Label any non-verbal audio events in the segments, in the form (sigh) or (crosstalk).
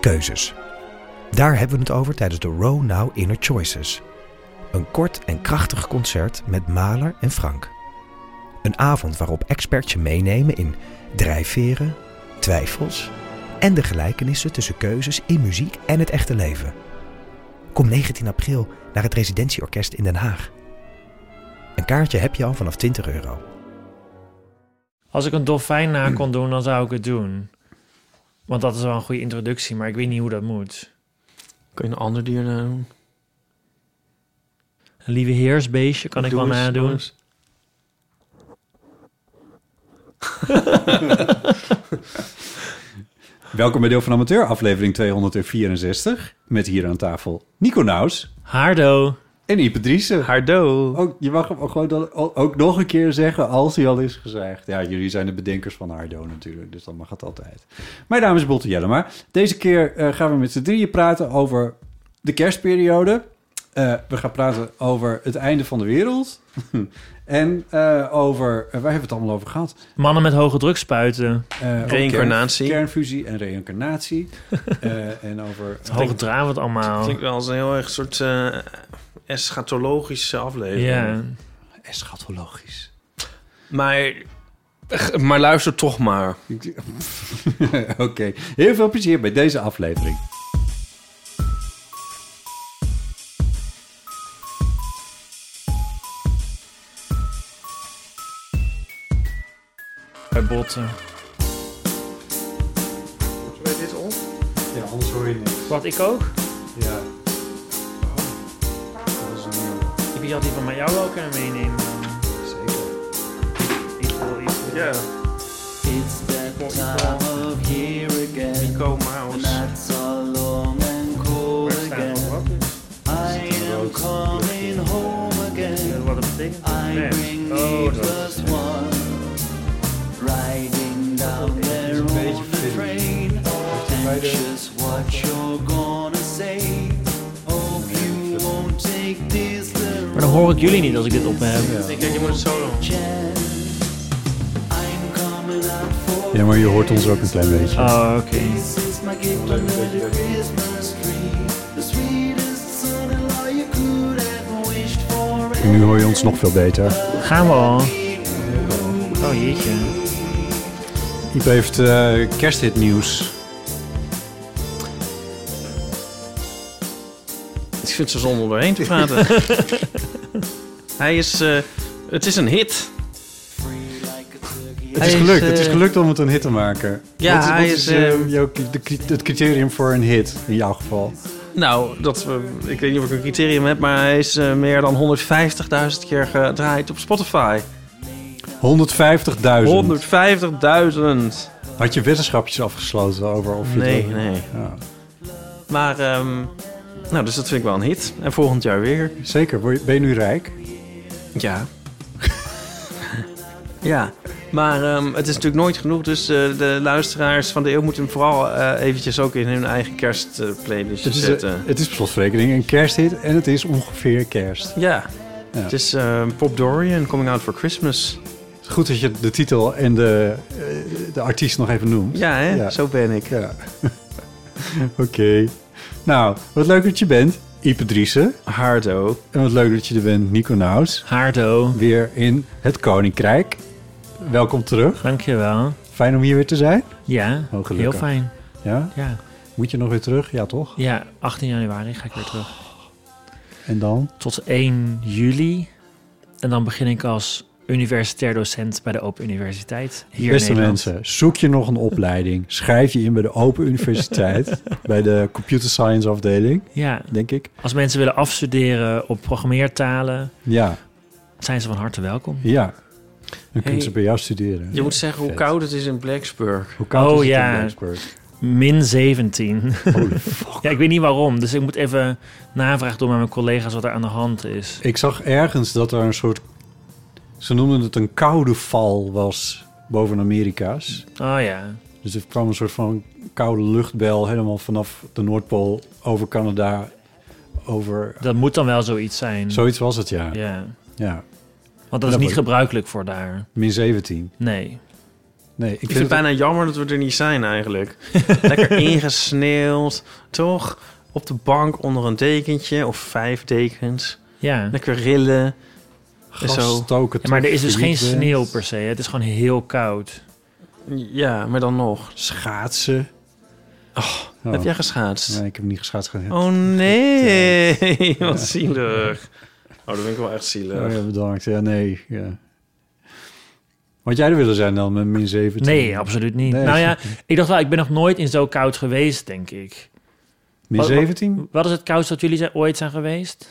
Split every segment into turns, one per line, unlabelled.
Keuzes. Daar hebben we het over tijdens de Row Now Inner Choices. Een kort en krachtig concert met Maler en Frank. Een avond waarop experts je meenemen in drijfveren, twijfels en de gelijkenissen tussen keuzes in muziek en het echte leven. Kom 19 april naar het Residentieorkest in Den Haag. Een kaartje heb je al vanaf 20 euro.
Als ik een dolfijn na kon doen, dan zou ik het doen. Want dat is wel een goede introductie, maar ik weet niet hoe dat moet.
Kun je een ander dier nou doen?
Een lieve heersbeestje kan ik wel
Doe eens, doe
nadoen.
eens.
Welkom bij Deel van Amateur, aflevering 264. Met hier aan tafel Nico Naus
Haardo.
en Ipe Driessen.
Hardo.
Ook, je mag hem ook, gewoon dan- ook nog een keer zeggen als hij al is gezegd. Ja, jullie zijn de bedenkers van Hardo natuurlijk, dus dat mag het altijd. Mijn naam is Botte Jellema. Deze keer eh, gaan we met z'n drieën praten over de kerstperiode. Eh, we gaan praten over het einde van de wereld. (laughs) en eh, over, eh, waar hebben we het allemaal over gehad?
Mannen met hoge drukspuiten.
Eh, over
Reïncarnatie.
kern- kernfusie en reïncarnatie. Eh, en over...
Hoge draven
Dat
allemaal.
klinkt wel als een heel erg soort eh, eschatologische aflevering.
Ja.
Eschatologisch.
Maar, Ech, maar luister toch maar.
Ik- (laughs) Oké, heel veel plezier bij deze aflevering.
Bij botten.
dit op?
Ja, anders hoor je niks.
Wat ik ook?
Ja. Oh. Dat is nieuw.
Ik had die van mij jou wel kunnen meenemen.
Zeker.
Ik wil, ik wil.
Ja.
It's that time of year again.
Nico
The
Maus.
nights are long and cold again. I am coming home again.
Wat dat betekent?
I
Nee.
bring me
Oh, dat.
plus one. Riding down there on the train. Anxious what you're gonna say. Hope you won't take this the
Maar dan hoor ik jullie niet als ik dit op heb.
Ik denk, je moet het zo doen.
chance. I'm coming out for
Ja, maar je hoort ons ook een klein beetje.
Oh, oké.
This is my gift under the Christmas tree. The sweetest son-in-law you could have wished for.
En nu hoor je ons nog veel beter.
Gaan we al. Oh, jeetje.
Iep heeft eh kersthitnieuws.
Ik vind het zo zonde om doorheen te (laughs) praten. Hij is... eh, het is een hit.
Free like a turkey.
Het is
Hij is,
gelukt. het
eh,
is gelukt om het een hit te maken.
Ja,
wat,
hij
wat
is,
eh,
eh,
jouw, de, het criterium voor een hit, in jouw geval?
Nou, dat, we- ik weet niet of ik een criterium heb, maar hij is eh, meer dan 150.000 keer gedraaid op Spotify.
150.000.
150.000.
Had je wetenschapjes afgesloten over of je
Nee,
dat-
nee.
Ja.
Maar, ehm, nou, dus dat vind ik wel een hit. En volgend jaar weer.
Zeker. Word je- Ben je nu rijk?
Ja. (laughs) ja, maar ehm, het is natuurlijk nooit genoeg. Dus eh, de luisteraars van de eeuw moeten hem vooral eh, eventjes ook in hun eigen kerstplaylist
Het is,
zetten.
eh, het is per slotverrekening een kersthit en het is ongeveer kerst.
ja.
Ja.
het is ehm, Pop Dorian, Coming Out for Christmas.
Het is Goed dat je de titel en de, eh, de artiest nog even noemt.
Ja, hè?
Ja.
Zo ben ik.
Ja. (laughs) Oké. Nou, wat leuk dat je bent, Ipe Driessen.
Hardo.
En wat leuk dat je er bent, Nico Nauws.
Haardo.
Weer in het Koninkrijk. Welkom terug.
Dankjewel.
Fijn om hier weer te zijn.
Ja,
Oh, gelukkig.
heel fijn.
Ja?
Ja.
Moet je nog weer terug? Ja, toch?
ja, 18 januari ga ik weer terug.
En dan?
Tot 1 juli. En dan begin ik als universitair docent bij de Open Universiteit. Hier in
Beste
Nederland.
mensen, zoek je nog een opleiding. Schrijf je in bij de
(laughs)
Open Universiteit. bij de Computer Science afdeling,
Ja,
denk ik.
als mensen willen afstuderen op programmeertalen,
Ja,
zijn ze van harte welkom.
ja. Dan kunnen
Hey.
ze bij jou studeren.
Je moet zeggen hoe
Vet.
koud het is in Blacksburg.
Hoe koud
Oh,
is het in
ja.
Blacksburg?
min 17. (laughs) ja, ik weet niet waarom. Dus ik moet even navragen doen met mijn collega's wat er aan de hand is.
Ik zag ergens dat er een soort... Ze noemden het een koude val was boven Amerika's.
Oh ja.
Dus er kwam een soort van koude luchtbel helemaal vanaf de Noordpool over Canada. Over...
Dat moet dan wel zoiets zijn.
Zoiets was het, ja.
Ja.
ja.
Want dat is
Dat
niet
wordt-
gebruikelijk voor daar.
Min 17.
Nee.
Nee, ik,
Ik vind het bijna jammer dat we er niet zijn
(laughs)
eigenlijk. Lekker ingesneeuwd, toch? Op de bank onder een dekentje of vijf dekens.
Ja.
Lekker rillen.
gas
zo.
stoken.
Ja, maar er is dus
tot je
geen
niet bent.
sneeuw per se. Het is gewoon heel koud.
Ja, maar dan nog.
Schaatsen. Oh,
Heb jij geschaatst?
Nee, eh, ik heb niet geschaatst. gehad.
Oh nee, (laughs) wat zielig. Oh, dat vind ik wel echt
Oh
zielig.
ja, bedankt. Ja, nee. Ja. Want jij er willen zijn dan met min 17?
Nee, absoluut niet.
Nee.
Nou ja, ik dacht wel, ik ben nog nooit in zo koud geweest, denk ik.
Min
Wat-
17?
Wat is het koudst dat jullie zijn- ooit zijn
(laughs)
geweest?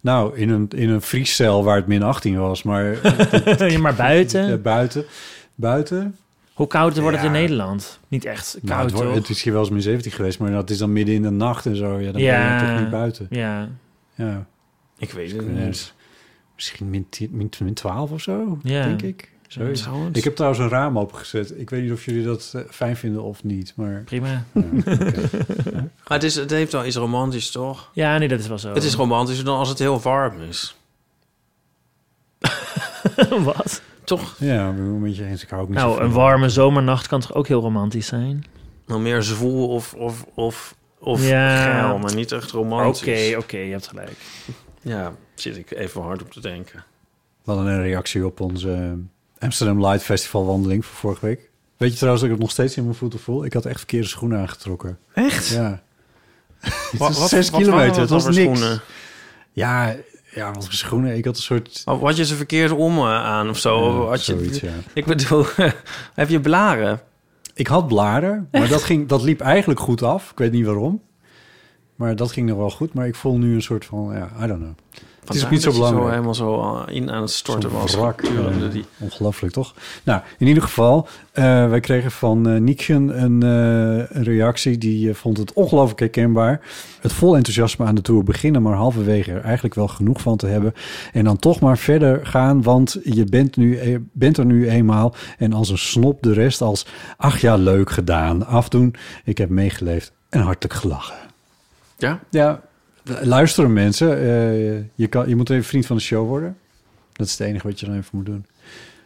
Nou, in een, in een vriescel waar het min 18 was, maar
(laughs)
eh,
Ja, maar buiten?
buiten. Buiten?
Hoe koud wordt het in
Ja.
Nederland? Niet echt
nou,
koud,
het, wordt-
toch?
het is hier wel eens min 17 geweest, maar dat is dan midden in de nacht en zo. Ja, dan ben je toch niet buiten.
Ja,
Ja,
Ik weet het
nee,
niet.
dus misschien min, 10 min, min 12 of zo,
Ja.
denk ik. Zoiets.
Trouwens.
Ik heb trouwens een raam opengezet. Ik weet niet of jullie dat eh, fijn vinden of niet, maar...
prima. (laughs)
ja, oké.
Maar het, is, het heeft wel iets romantisch, toch?
Ja, nee, dat is wel zo. (laughs)
Het is romantischer dan als het heel warm is.
Wat?
Toch?
Ja, ik ben een beetje eens. Ik hou ook niet zo
Nou,
van-
een warme zomernacht kan toch ook heel romantisch zijn?
Nou, meer zwoel of, of, of, of
Ja.
geil, maar niet echt
Oké,
romantisch.
oké, je hebt gelijk.
Ja, zit ik even hard op te denken.
We hadden een reactie op onze eh, Amsterdam Light Festival wandeling van vorige week. Weet je trouwens dat ik het nog steeds in mijn voeten voel? Ik had echt verkeerde schoenen aangetrokken.
Echt?
Ja. (laughs) Het
Wa-
is
wat-
zes
wat
kilometer,
waren
het
dat
was
dan
niks.
voor schoenen?
Ja, ja, wat voor schoenen. Ik had een soort...
Of Had je ze verkeerd om eh, aan of zo?
eh,
had je,
zoiets, ja.
Ik bedoel, (laughs) heb je blaren?
Ik had blaren, maar
(laughs)
dat, ging, dat liep eigenlijk goed af. Ik weet niet waarom. Maar dat ging nog wel goed. Maar ik voel nu een soort van, ja, I don't know. Het is ook
Vandaar
niet zo
dat je
belangrijk.
Zo helemaal zo eh, in aan het storten
Zo'n
was.
wrak,
Gedurende
eh,
die-
Ongelooflijk, toch? Nou, in ieder geval, eh, wij kregen van eh Niekjen een, eh, een reactie. Die eh, vond het ongelooflijk herkenbaar. Het vol enthousiasme aan de tour beginnen, maar halverwege er eigenlijk wel genoeg van te hebben. En dan toch maar verder gaan, want je bent, nu, eh, bent er nu eenmaal. En als een snop de rest als, ach ja, leuk gedaan, afdoen. Ik heb meegeleefd en hartelijk gelachen.
Ja?
Ja, luisteren mensen. Eh, je, kan, je moet even vriend van de show worden. Dat is het enige wat je dan even moet doen.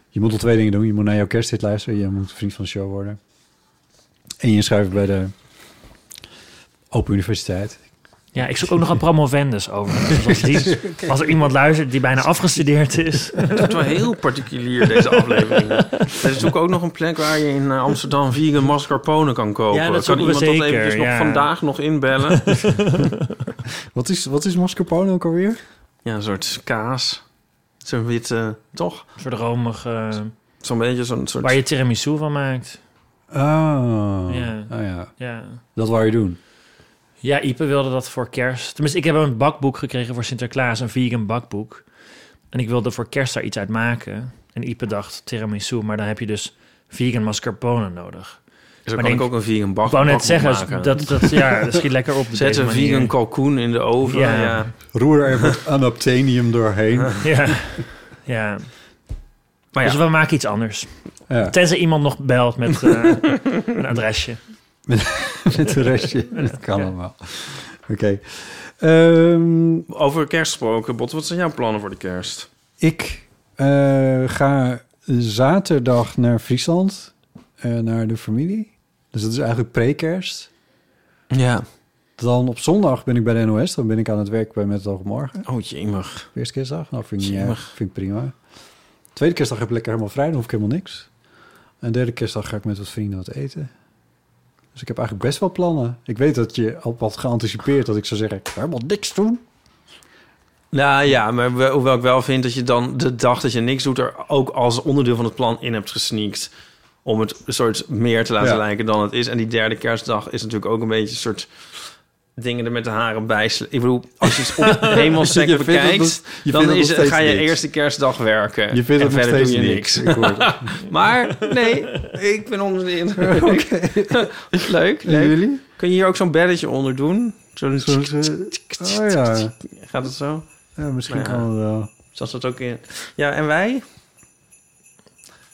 Je moet al twee dingen doen. Je moet naar jouw kersthit luisteren. Je moet vriend van de show worden. En je inschrijven bij de Open Universiteit.
Ja, ik zoek ook nog
(laughs)
een promovendus over. Dus als, die- als er iemand luistert die bijna afgestudeerd
(laughs)
is.
Het is wel heel particulier, deze aflevering. Er is natuurlijk ook nog een plek waar je in eh, Amsterdam vegan mascarpone kan kopen.
Ja, dat
kan
zoeken we
iemand dat
zeker,
eventjes
ja.
nog vandaag nog inbellen?
(laughs) Wat is, wat is mascarpone ook alweer?
ja, een soort kaas. Zo'n witte, toch?
Een soort romig, eh,
Zo'n beetje zo'n soort...
waar je tiramisu van maakt.
Ah,
Ja.
ah ja.
Ja.
Dat wou je doen.
ja, Ipe wilde dat voor kerst. Tenminste, ik heb een bakboek gekregen voor Sinterklaas, een vegan bakboek. En ik wilde voor kerst daar iets uit maken. En Ipe dacht tiramisu, maar dan heb je dus vegan mascarpone nodig.
Zo
maar
kan ik
denk-
ook een vegan bak
Ik wou net
bakboek
zeggen,
maken.
dat, dat, ja, dat schiet lekker
(laughs)
op. op
Zet
deze
een
manier.
vegan kalkoen in de oven.
Ja.
Ja.
Roer er even het unobtainium doorheen.
(laughs) Ja, ja.
Maar ja,
Dus we maken iets anders.
(laughs) Ja,
Tenzij iemand nog belt met
(laughs)
eh, een adresje.
met het restje. (laughs) Dat kan allemaal. Oké. Ehm,
over kerst gesproken, Bot, wat zijn jouw plannen voor de kerst?
Ik eh, ga zaterdag naar Friesland, eh, naar de familie. Dus dat is eigenlijk pre-kerst.
Ja.
Dan op zondag ben ik bij de NOS, dan ben ik aan het werk bij Met het Oog op Morgen.
Oh, jemig.
Eerste kerstdag, nou vind ik, niet
Jemig.
erg, vind ik prima. Tweede kerstdag heb ik lekker helemaal vrij, dan hoef ik helemaal niks. En derde kerstdag ga ik met wat vrienden wat eten. Dus ik heb eigenlijk best wel plannen. Ik weet dat je al wat geanticipeerd dat ik zou zeggen, ik ga helemaal niks doen.
Nou ja, maar wel- hoewel ik wel vind dat je dan de dag dat je niks doet... er ook als onderdeel van het plan in hebt gesneakt. Om het een soort meer te laten
Ja.
lijken dan het is. En die derde kerstdag is natuurlijk ook een beetje een soort... dingen er met de haren bij. sle- Ik bedoel, als je het op hemelstek
Je vindt het
bekijkt,
nog- je
dan
vindt het
is,
nog steeds
ga je
niks.
eerste kerstdag werken.
Je vindt
en
het nog
verder
steeds
doe je niks.
niks. Ik hoor het.
Maar nee, (laughs) ik ben onder de indruk. (laughs) leuk, (laughs) leuk.
Jullie?
Kun je hier ook zo'n belletje onder doen? Zo'n
Zo'n- zo'n- Oh ja.
Gaat het zo?
ja, misschien
Nou ja.
kan het wel.
Zat dat ook in? Ja, en wij?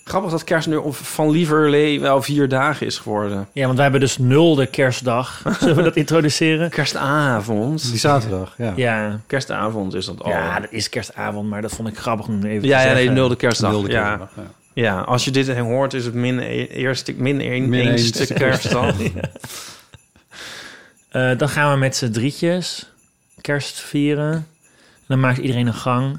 Grappig dat kerst nu op- van lieverlee wel vier dagen is geworden.
Ja, want wij hebben dus nul de kerstdag. (laughs) Zullen we dat introduceren?
Kerstavond.
Die zaterdag, ja.
Ja.
Kerstavond is dat al.
Ja, dat is kerstavond, maar dat vond ik grappig om even
Oh. Ja,
te
ja, nee,
zeggen.
nulde kerstdag.
Wilde
ja.
kerstdag, ja.
ja, als je dit hoort is het min e- eerste, min één,
Min
eenste
eenste
kerstdag.
Eh, dan gaan we met z'n drietjes kerst vieren. En dan maakt iedereen een gang.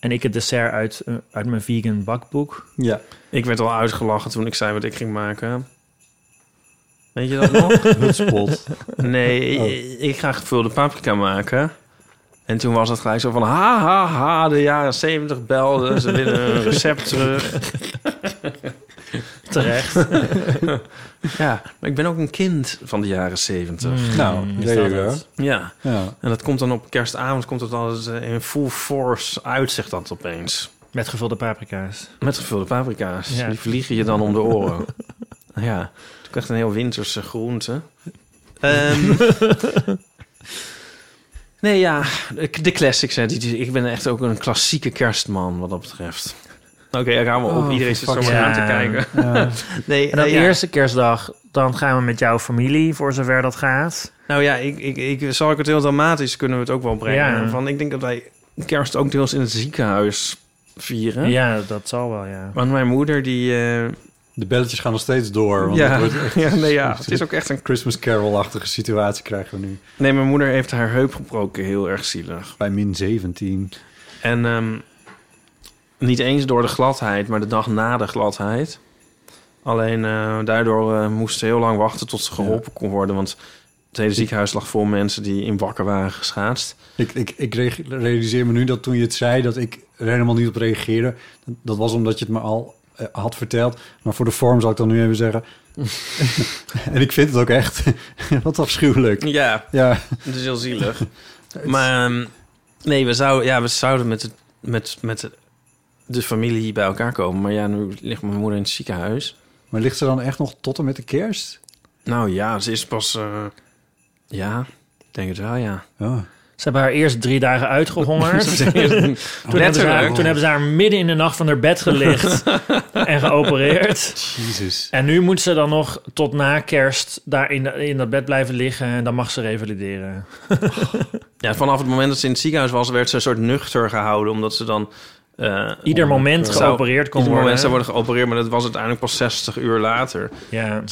En ik het dessert uit, eh, uit mijn vegan bakboek.
Ja.
ik werd al uitgelachen toen ik zei wat ik ging maken. Weet je dat nog?
Hutspot.
Nee, ik- ik ga gevulde paprika maken. En toen was het gelijk zo van... Ha, ha, ha, de jaren zeventig belden. Ze willen een recept terug.
Terecht.
(laughs) Ja, maar ik ben ook een kind van de jaren zeventig.
Hmm.
nou,
is
there
dat
you go.
het?
Ja,
(laughs) Ja.
en dat komt dan op kerstavond... komt het altijd eh, in full force uit, zegt dat opeens.
Met gevulde paprika's.
Met gevulde paprika's.
Ja.
Die vliegen je dan om de (laughs) oren. ja, ik krijg een heel winterse groente. (laughs) Ehm, nee, ja, de- de classics. Hè. Die- die- Ik ben echt ook een klassieke kerstman wat dat betreft. Oké, daar gaan we op. Iedereen zit zo maar
ja.
aan te kijken. Nee,
En dan
eh, ja.
eerste kerstdag, dan gaan we met jouw familie, voor zover dat gaat.
Nou ja, ik, ik, ik, zal ik het heel dramatisch kunnen we het ook wel brengen.
Ja.
Van, ik denk dat wij kerst ook deels in het ziekenhuis vieren.
Ja, dat zal wel, ja.
Want mijn moeder die... eh,
De belletjes gaan nog steeds door. Want het (laughs)
ja,
wordt echt
ja, nee, ja, het is ook echt een
een Christmas Carol-achtige situatie krijgen we nu.
Nee, mijn moeder heeft haar heup gebroken, heel erg zielig.
Bij min 17.
En ehm, niet eens door de gladheid, maar de dag na de gladheid. Alleen eh, daardoor eh, moest ze heel lang wachten tot ze geholpen kon worden. Want het hele ziekenhuis lag vol mensen die in wakker waren geschaatst.
Ik, ik, ik re- realiseer me nu dat toen je het zei, dat ik er helemaal niet op reageerde. Dat, dat was omdat je het me al eh, had verteld. Maar voor de vorm zal ik dan nu even zeggen. en ik vind het ook echt (laughs) wat afschuwelijk.
Ja,
Ja,
dat is heel (laughs) zielig. maar ehm, nee, we zouden, ja, we zouden met, het, met, met de- de familie hier bij elkaar komen. Maar ja, nu ligt mijn moeder in het ziekenhuis.
maar ligt ze dan echt nog tot en met de kerst?
Nou ja, ze is pas... eh, ja, ik denk het wel, ja.
Ja.
Ze hebben haar eerst drie dagen uitgehongerd. (laughs)
(laughs)
toen, hebben ze haar,
Letterlijk.
toen hebben ze haar midden in de nacht van haar bed
(laughs)
gelicht en geopereerd.
Jezus.
En nu moet ze dan nog tot na kerst daar in, de- in dat bed blijven liggen en dan mag ze revalideren.
Ja, vanaf het moment dat ze in het ziekenhuis was, werd ze een soort nuchter gehouden. Omdat ze dan... eh,
Ieder moment
zou-
geopereerd kon
ieder
worden.
moment zou worden geopereerd, maar dat was uiteindelijk pas 60 uur later. (laughs)
Ja.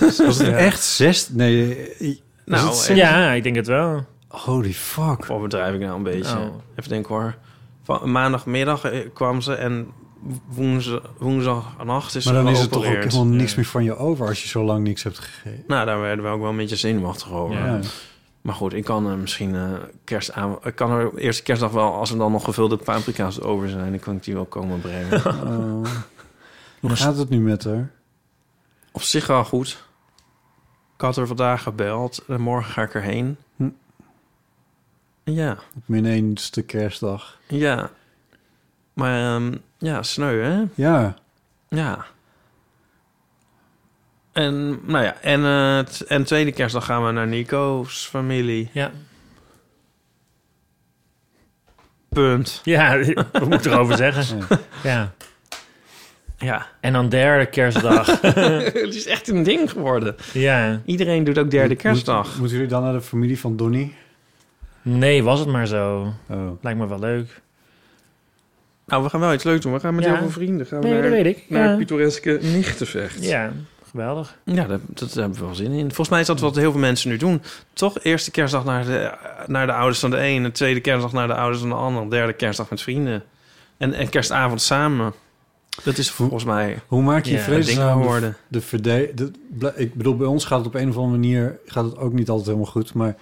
Was het echt zes? Nee, eh, was
Nou,
het zes?
echt.
ja, ik denk het wel.
Holy fuck.
Of overdrijf ik nou een beetje?
Oh.
Even denken hoor. Van, maandagmiddag eh, kwam ze en woensdag, woensdagnacht is
Maar
ze
dan is het toch ook
geopereerd.
helemaal niks meer van je over als je zo lang niks hebt gegeven.
Nou, daar werden we ook wel een beetje zenuwachtig over.
Ja.
Ja.
Maar goed, ik kan eh, misschien eh kerst aan... Ik kan er eerste kerstdag wel, als er dan nog gevulde paprika's over zijn... dan kan ik die wel komen brengen.
Oh. Hoe gaat het nu met haar?
Op zich wel goed. Ik had er vandaag gebeld. En morgen ga ik erheen.
Hm.
Ja,
Op mijn eenste kerstdag.
ja. Maar ehm, ja, sneu, hè?
Ja.
Ja. En, nou ja, en, eh, t- en tweede kerstdag gaan we naar Nico's familie.
Ja,
Punt.
ja (laughs) we moeten erover zeggen. Ja.
Ja. (laughs)
En dan derde kerstdag.
Het is echt een ding geworden.
Ja.
Iedereen doet ook derde
Moet-
kerstdag.
Moeten jullie dan naar de familie van Donnie?
Nee, was het maar zo.
Oh.
Lijkt me wel leuk.
Nou, we gaan wel iets leuks doen. We gaan met
Ja.
heel veel vrienden gaan we
Nee, dat
naar,
weet ik.
naar
Ja.
pittoreske Nichtenvecht.
Ja, geweldig.
Ja, dat, dat hebben we wel zin in. Volgens mij is dat wat heel veel mensen nu doen. Toch eerste kerstdag naar de, naar de ouders van de ene... tweede kerstdag naar de ouders van de ander... derde kerstdag met vrienden. En, en kerstavond samen. Dat is volgens mij
Hoe maak je je
Ja,
een
vrees
ding
aan de,
geworden.
de verde- de- bl- Ik bedoel, bij ons gaat het op een of andere manier... gaat het ook niet altijd helemaal goed, maar...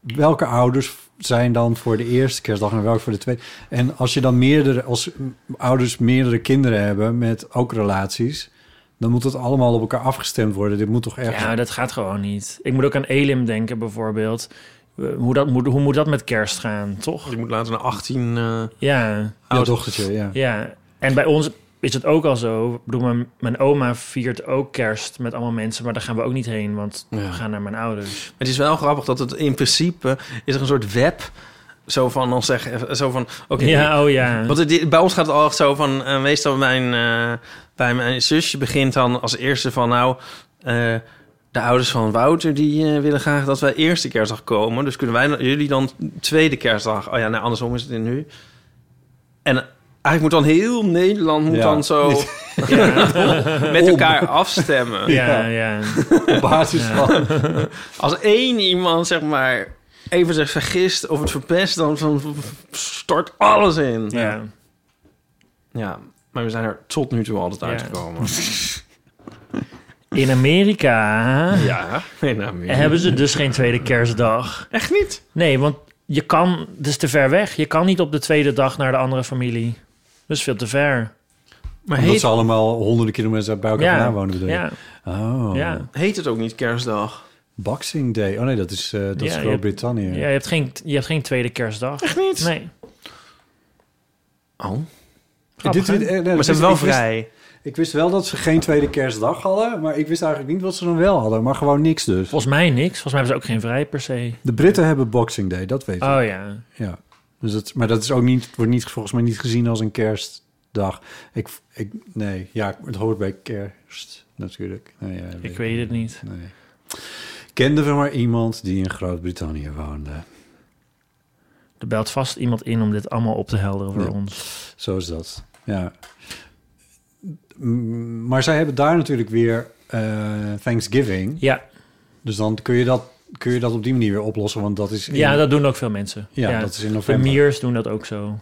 Welke ouders zijn dan voor de eerste kerstdag en welke voor de tweede? En als je dan meerdere, als ouders meerdere kinderen hebben met ook relaties, Dan moet het allemaal op elkaar afgestemd worden. Dit moet toch echt...
Ja, dat gaat gewoon niet. Ik moet ook aan Elim denken bijvoorbeeld. Eh, Hoe, dat, moet, hoe moet dat met kerst gaan, toch?
Je moet later naar 18... eh,
Ja,
Jouw dochtertje, ja.
ja. En bij ons is het ook al zo. Ik bedoel, mijn, mijn oma viert ook kerst met allemaal mensen, maar daar gaan we ook niet heen, want we
Ja.
gaan naar mijn ouders.
Het is wel grappig dat het in principe is er een soort web zo van dan zeggen zo van oké.
Ja, oh ja.
Want het- bij ons gaat het al echt zo van eh, meestal mijn eh, bij mijn zusje begint dan als eerste van nou eh, de ouders van Wouter die eh, willen graag dat wij eerste kerstdag komen, dus kunnen wij dan- jullie dan tweede kerstdag. Oh ja, nou andersom is het in nu. En eigenlijk moet dan heel Nederland moet
Ja.
dan zo
(laughs)
met elkaar afstemmen.
ja, ja.
(laughs) Op basis van...
Als één iemand, zeg maar, even zich vergist of het verpest, dan van- stort alles in.
ja. ja.
Ja, maar we zijn er tot nu toe altijd
Ja.
uitgekomen.
In Amerika
Ja, (laughs) nee, nou, meer.
hebben ze dus geen tweede kerstdag.
Echt niet?
Nee, want je kan, het is te ver weg. Je kan niet op de tweede dag naar de andere familie. Dat is veel te ver.
Maar
Omdat
heet,
ze allemaal honderden kilometers bij elkaar
Ja.
vandaan wonen, bedoel je?
Ja,
Oh.
ja.
heet het ook niet kerstdag?
Boxing Day. Oh nee, dat is, eh, dat
Ja,
is
je-
Groot-Brittannië.
ja je, hebt geen, je hebt geen tweede kerstdag.
Echt niet?
Nee.
Oh.
En dit-
Grappig, hè?
eh, nee,
Maar
dat
ze
wist-
hebben wel
ik wist-
vrij.
Ik wist wel dat ze geen tweede kerstdag hadden, maar ik wist eigenlijk niet wat ze dan wel hadden. Maar gewoon niks dus.
Volgens mij niks. Volgens mij hebben ze ook geen vrij per se.
De Britten hebben Boxing Day, dat weet ik.
Oh ja.
Ja. Dus dat, maar dat is ook niet, wordt niet, volgens mij niet gezien als een kerstdag. Ik, ik, nee, ja, het hoort bij kerst natuurlijk. Nou ja,
Ik weet het niet.
Nee. Kenden we maar iemand die in Groot-Brittannië woonde.
Er belt vast iemand in om dit allemaal op te helderen voor
Ja.
ons.
Zo is dat. Ja. Mm, Maar zij hebben daar natuurlijk weer eh, Thanksgiving.
Ja,
Dus dan kun je, dat, kun je dat op die manier weer oplossen. Want dat is in,
ja dat doen ook veel mensen.
ja, dat is in
de
november.
Miers doen dat ook zo.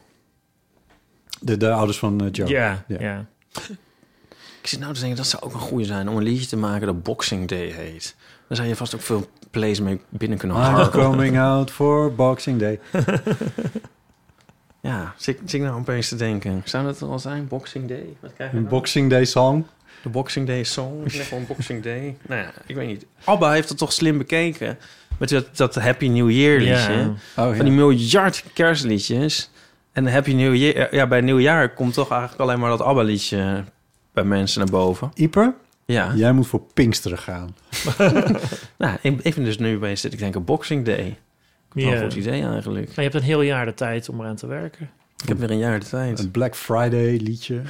De, de ouders van eh, Joe.
Ja,
Ja.
ja.
Ik zit nou te denken, dat zou ook een goede zijn om een liedje te maken dat Boxing Day heet. Dan zou je vast ook veel plays mee binnen kunnen
I'm
harken.
coming out for Boxing Day.
Ja, zit, zit ik nou opeens te denken. Zou dat er al zijn? Boxing Day? Wat krijg je
Een
dan?
Boxing Day song.
De Boxing Day song. Ik zeg gewoon Boxing (laughs) Day. Nou ja, ik weet niet. Abba heeft het toch slim bekeken. Met dat, dat Happy New Year liedje.
Ja.
Oh,
Van die miljard kerstliedjes. En Happy New Year. Ja, bij nieuwjaar komt toch eigenlijk alleen maar dat Abba liedje bij mensen naar boven.
Ieper,
Ja.
jij moet voor Pinksteren gaan.
Nou, ik, ik ben dus nu opeens dat ik denk een Boxing Day. Wel
Ja.
Een Nou, goed idee eigenlijk.
Maar je hebt een heel jaar de tijd om eraan te
(laughs)
werken.
Ik heb weer een jaar de tijd.
Een Black Friday liedje.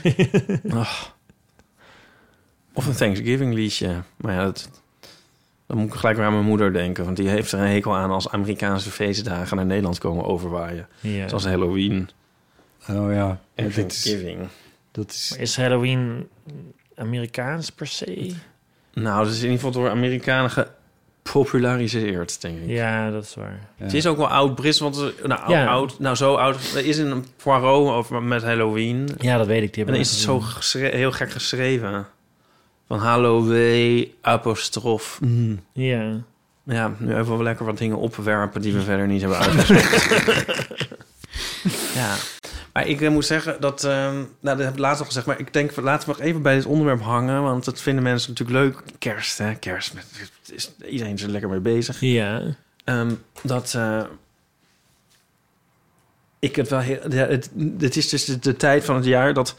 Of een Thanksgiving liedje. Maar ja, dat, dan moet ik gelijk weer aan mijn moeder denken. Want die heeft er een hekel aan als Amerikaanse feestdagen naar Nederland komen overwaaien.
Ja.
Zoals Halloween
Oh ja.
en
Ja, dit is,
Thanksgiving.
dat is,
Maar Is Halloween Amerikaans per se?
Nou, dat is in ieder geval door Amerikanen gepopulariseerd, denk ik.
Ja, dat is waar.
ja.
Het is ook wel oud-Brits, want er- nou, oud,
Ja.
oud- nou zo oud. Er is een Poirot of met Halloween.
Ja, dat weet ik. Die
En dan is het zo geschre- heel gek geschreven. Van Halloween, apostrof.
Mm.
Ja.
Ja, nu even wel lekker wat dingen opwerpen die we verder niet hebben
(laughs)
uitgesproken. ja. Maar ik eh, moet zeggen dat, ehm, nou dat heb ik laatst al gezegd, maar ik denk, laten we nog even bij dit onderwerp hangen, want dat vinden mensen natuurlijk leuk. Kerst, hè, kerst, met- is, iedereen is er lekker mee bezig.
Ja.
Ehm, dat eh, ik het wel heel. Ja, het, het is dus de, de tijd van het jaar dat.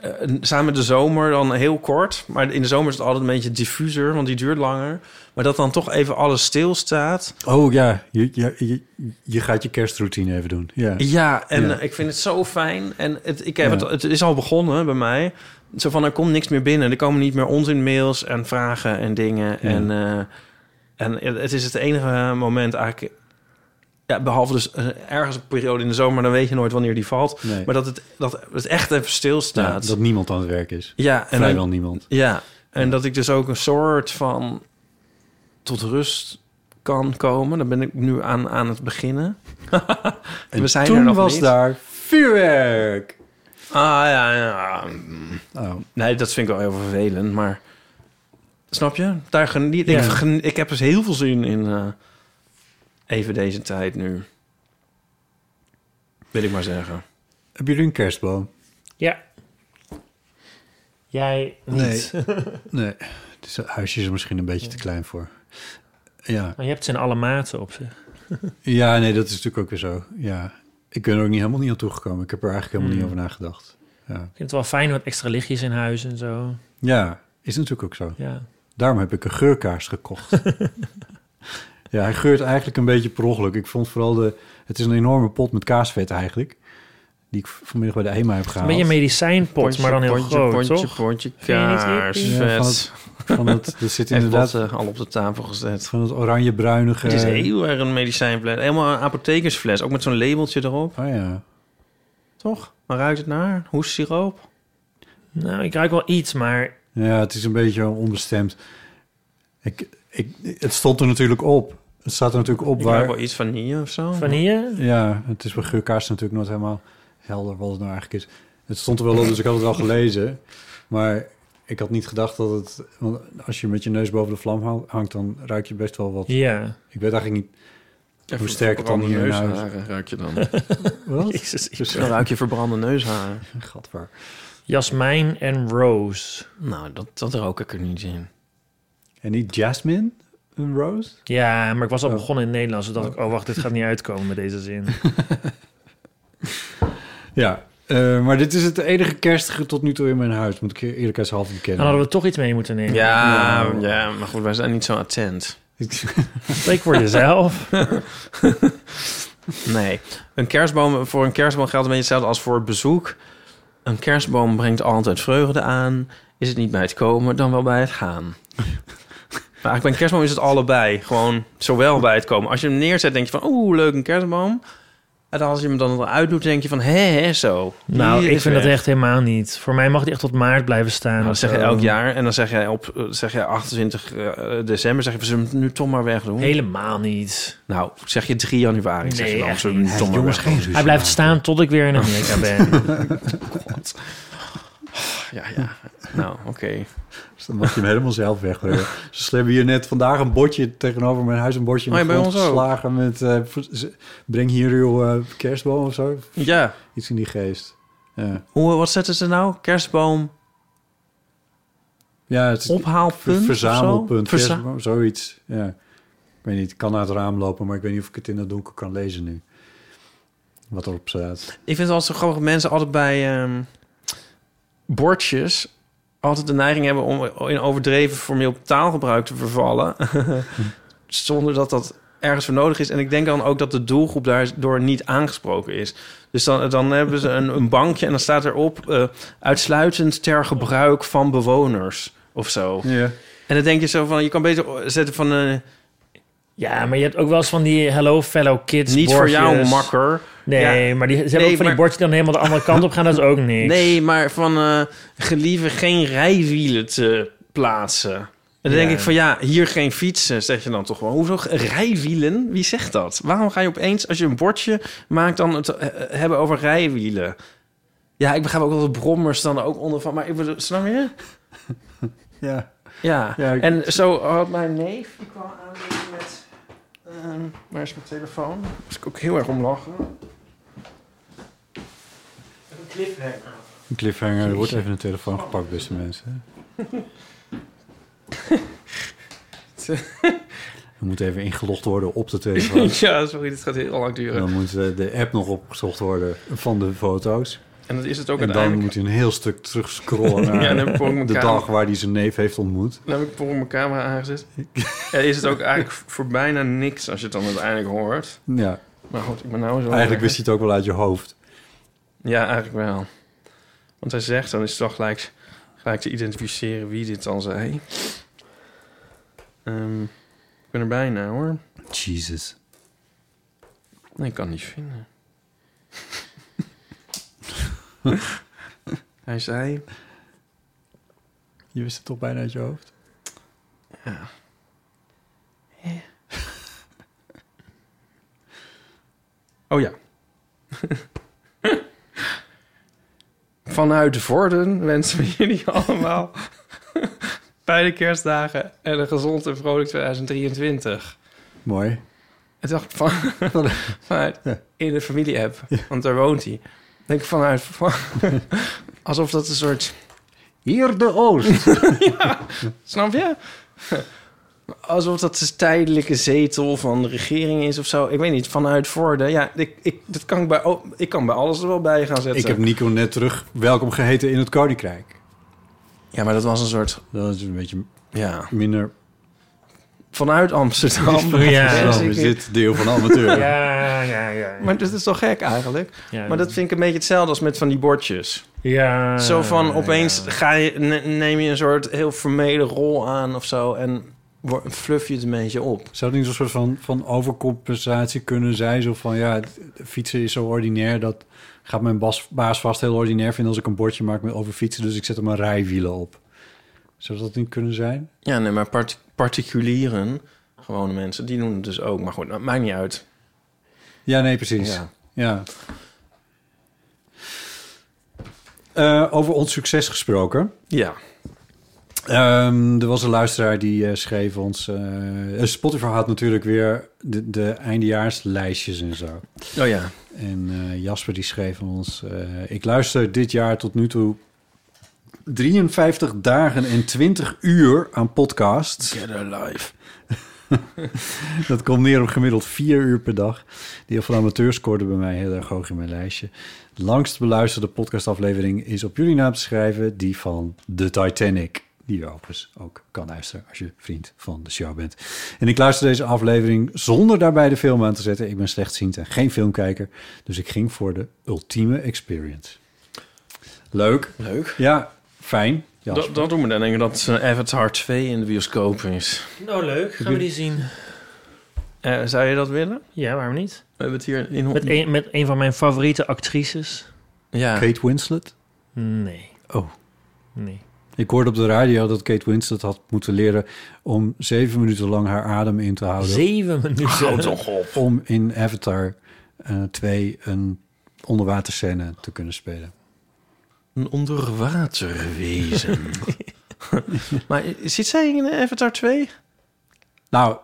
eh, samen met de zomer dan heel kort. Maar in de zomer is het altijd een beetje diffuser, want die duurt langer. Maar dat dan toch even alles stilstaat.
Oh ja, je, je, je, je gaat je kerstroutine even doen. Ja.
Ja, en
Ja.
eh, ik vind het zo fijn. En het, ik heb
Ja.
het, het is al begonnen bij mij. Zo van, er komt niks meer binnen. Er komen niet meer onzinmails en vragen en dingen.
Ja.
En, eh, en het is het enige moment eigenlijk... Ja, behalve dus eh, ergens een periode in de zomer... dan weet je nooit wanneer die valt.
Nee.
Maar dat het, dat het echt even
Ja,
stilstaat. Ja,
dat niemand aan het werk is.
en dan-
Vrijwel niemand.
ja, en dat ik dus ook een soort van tot rust kan komen. Daar ben ik nu aan, aan het beginnen. (laughs)
En
We zijn
toen
er nog
was
niet.
daar vuurwerk.
Ah, ja, ja.
Oh,
Nee, dat vind ik wel heel vervelend, maar... Snap je? Daar geniet,
Ja.
ik, geniet- ik heb dus heel veel zin in eh, even deze tijd nu. Wil ik maar zeggen.
hebben jullie een kerstboom?
Ja. Jij niet.
Nee. nee. Het is- het huisje is er misschien een beetje te klein voor. Ja.
(laughs) Maar je hebt ze in alle maten op zich.
ja, nee, dat is natuurlijk ook weer zo. Ja. Ik ben er ook niet, helemaal niet aan toegekomen. Ik heb er eigenlijk helemaal
Mm.
niet
Hmm.
over nagedacht. Ja.
Ik vind het wel fijn wat extra lichtjes in huis en zo.
ja, is natuurlijk ook zo.
Ja.
Daarom heb ik een geurkaars gekocht.
(laughs)
ja, hij geurt eigenlijk een beetje per ongeluk. Ik vond vooral de... Het is een enorme pot met kaasvet eigenlijk. Die ik vanmiddag bij de HEMA
Een
heb
Nou,
gehaald.
beetje een medicijnpot, maar dan heel
pontje,
groot,
pontje,
toch?
Pontje,
je niet hippie?
kaars,
Ja, van het-
vet.
Van het, er
(laughs)
zit
Heeft
inderdaad
dat eh, al op de tafel gezet.
van het oranje-bruinige...
eh. Het is heel erg een medicijnfles. Helemaal een apothekersfles. Ook met zo'n labeltje erop.
Oh ja.
Toch? Waar ruikt het naar? Hoessiroop?
Nou, ik ruik wel iets, maar
Ja, het is een beetje onbestemd. Ik, ik, het stond er natuurlijk op. Het staat er natuurlijk op
Ik ruik
waar...
wel iets vanille of zo.
vanille?
Ja, het is bij geurkaars natuurlijk nooit helemaal helder wat het nou eigenlijk is. Het stond er wel op, dus ik had het wel gelezen. Maar ik had niet gedacht dat het... Want als je met je neus boven de vlam hou- hangt, dan ruik je best wel wat.
Ja.
Ik weet eigenlijk niet...
Even
Hoe sterk het dan
verbrande
hier in huis?
neusharen ruik je (laughs) dan.
Wat?
Jezus. ik-
Dus,
dan ruik je verbrande neusharen.
(laughs) Gadver.
Jasmijn en roos.
Nou, dat, dat rook ik er niet in.
En niet Jasmine? Een rose?
Ja, maar ik was al
Oh.
begonnen in het Nederlands. Toen dacht ik, oh wacht, dit gaat niet uitkomen met deze
(laughs)
zin.
Ja, eh, maar dit is het enige kerstige tot nu toe in mijn huis. Moet ik je eerlijkheidshalve
Nou, Dan
bekennen.
hadden we toch iets mee moeten nemen.
Ja, ja, maar goed, wij zijn niet zo attent.
Spreek voor
(laughs)
jezelf.
Nee, een kerstboom, voor een kerstboom geldt een beetje hetzelfde als voor het bezoek. Een kerstboom brengt altijd vreugde aan. Is het niet bij het komen, dan wel bij het gaan. (laughs) Maar eigenlijk bij een kerstboom is het allebei. Gewoon zowel bij het komen. Als je hem neerzet, denk je van, oeh, leuk, een kerstboom. En dan als je hem dan eruit doet, denk je van, hé, hé, zo.
Nou,
Die
ik
is
vind dat
weg.
echt helemaal niet. Voor mij mag die echt tot maart blijven staan.
Nou,
of
dat zeg je
zo.
elk jaar. En dan zeg je op eh, zeg je 28 eh, december, zeg je, we zullen hem nu toch maar wegdoen.
Helemaal niet.
Nou, zeg je 3 januari, zeg je
Nee,
dan,
echt
we zullen hem nu
Hey,
toch maar
(laughs) jongens,
wegdoen.
geen ruzie.
Hij blijft staan tot ik weer in Amerika ben.
Ja,
(laughs)
ja. Nou, oké.
Dus dan mag je hem helemaal zelf wegbrengen. Ze hebben hier net vandaag een bordje tegenover mijn huis. Een bordje in
Oh
de
ja, bij
grond
ons ook.
geslagen met... eh, v- z- breng hier uw eh, kerstboom of zo.
Ja.
Iets in die geest. Ja,
Hoe, wat zetten ze nou? Kerstboom,
ja het is
ophaalpunt
een
of
verzamelpunt.
zo? Verza-
kerstboom, zoiets. Ja. Ik weet niet, ik kan naar het raam lopen, maar ik weet niet of ik het in het donker kan lezen nu. Wat erop staat.
ik vind het altijd zo grappig dat mensen altijd bij ehm, bordjes altijd de neiging hebben om in overdreven formeel taalgebruik te vervallen. (laughs) Zonder dat dat ergens voor nodig is. En ik denk dan ook dat de doelgroep daardoor niet aangesproken is. Dus dan, dan hebben ze een, een bankje en dan staat erop... eh, uitsluitend ter gebruik van bewoners of zo.
Ja.
En dan denk je zo van, je kan beter zetten van... eh,
Ja, maar je hebt ook wel eens van die Hello Fellow Kids
niet voor jou,
bordjes.
makker.
Nee, maar die, ze hebben
Nee,
ook van die
maar-
bordjes die dan helemaal de andere kant op gaan. Dat is ook niks.
(laughs) Nee, maar van eh gelieve geen rijwielen te plaatsen. En dan
Ja.
denk ik van ja, hier geen fietsen, zeg je dan toch wel. Hoezo ge- rijwielen? Wie zegt dat? Waarom ga je opeens, als je een bordje maakt, dan het eh, eh, hebben over rijwielen? Ja, ik begrijp ook wel dat brommers dan ook onder van, maar ik bedoel, snap je?
ja.
Ja,
Ja, ik-
en zo had mijn neef, die kwam aan met... ehm, waar is mijn telefoon? Daar moest ik ook heel erg om lachen. Een cliffhanger.
Een cliffhanger. Er wordt even een telefoon gepakt, beste (laughs) mensen. Er moet even ingelogd worden op de (laughs) telefoon.
(laughs) Ja, sorry, dit gaat heel lang duren.
Dan moet eh, de app nog opgezocht worden van de foto's.
En dat is het ook
En dan
uiteindelijk.
moet hij een heel stuk (laughs) terugscrollen
Ja, dan
naar
heb ik voor mijn
de
camera,
dag waar hij zijn neef heeft ontmoet.
dan heb ik voor mijn camera aangezet.
(laughs)
Ja, is het ook eigenlijk voor bijna niks als je het dan uiteindelijk hoort.
Ja,
Maar goed, ik ben nou zo...
eigenlijk wist je het ook wel uit je hoofd.
Ja, eigenlijk wel. Want hij zegt, dan is het wel gelijk, gelijk te identificeren wie dit dan zei. Ehm, ik ben er bijna hoor.
Jesus.
Nee, ik kan het niet
(laughs)
vinden. hij zei...
Je wist het toch bijna uit je hoofd?
Oh ja. (laughs) Vanuit Vorden wensen we jullie allemaal (laughs) bij de kerstdagen en een gezond en vrolijk 2023.
Mooi.
En dacht ik van, (laughs) vanuit in de (laughs) familie-app, want daar woont hij. Denk ik vanuit, van- alsof dat een soort
Hier de Oost.
Snap je? (laughs) Alsof dat de tijdelijke zetel van de regering is of zo. Ik weet niet, vanuit Voorde. Ja, ik, ik, dat kan ik, bij, oh, ik kan bij alles er wel bij gaan zetten.
(laughs) ik heb Nico net terug welkom geheten in het Koninkrijk.
Ja, maar dat was een soort...
Dat is een beetje
Ja,
minder...
vanuit
(laughs)
Amsterdam.
Ja.
Zo is dit deel van de amateur.
Ja, ja, ja.
Maar dat is toch gek eigenlijk?
Ja, Ah,
Maar dat vind ik een beetje hetzelfde als met van die bordjes.
Ja.
Zo van opeens
ja.
ga je, ne- neem je een soort heel formele rol aan of zo... en wor- fluff je het een beetje op.
Zou het niet zo'n soort van, van overcompensatie kunnen zijn? Zo van, ja, het- fietsen is zo ordinair... dat gaat mijn bas, baas vast heel ordinair vinden... als ik een bordje maak met over fietsen... dus ik zet er maar rijwielen op. Zou dat niet kunnen zijn?
Ja, nee, maar part- particulieren, gewone mensen, die doen het dus ook. Maar goed, dat maakt niet uit.
Ja, nee, precies. Ja.
Ja.
Eh, over ons succes gesproken...
Ja.
Ehm, er was een luisteraar die eh, schreef ons... eh Spotify had natuurlijk weer de, de eindejaarslijstjes en zo.
Oh ja.
En eh, Jasper die schreef ons... eh, ik luister dit jaar tot nu toe 53 dagen en 20 uur aan podcasts.
Get alive.
Dat komt neer op gemiddeld 4 uur per dag. Die van amateur scoorde bij mij heel erg hoog in mijn lijstje. De langst beluisterde podcastaflevering is op jullie naam te schrijven... die van The Titanic. Die je overigens ook kan luisteren als je vriend van de show bent. En ik luister deze aflevering zonder daarbij de film aan te zetten. Ik ben slechtziend en geen filmkijker. Dus ik ging voor de ultieme experience. Leuk.
Leuk.
Ja, fijn. Jasper.
Dat, dat doet me dan denken dat eh, Avatar 2 in de bioscoop is.
Nou, leuk. Gaan we die zien?
Eh, zou je dat willen?
Ja, waarom niet?
We hebben het hier in
Met een, met een van mijn favoriete actrices?
Ja.
Kate Winslet.
Nee.
Oh.
Nee.
Ik hoorde op de radio dat Kate Winslet had moeten leren om zeven minuten lang haar adem in te houden.
Zeven
Oh,
minuten. (laughs)
om in Avatar eh 2 een onderwaterscène te kunnen spelen.
Een onderwaterwezen.
(laughs)
maar zit zij in eh, Avatar 2?
Nou,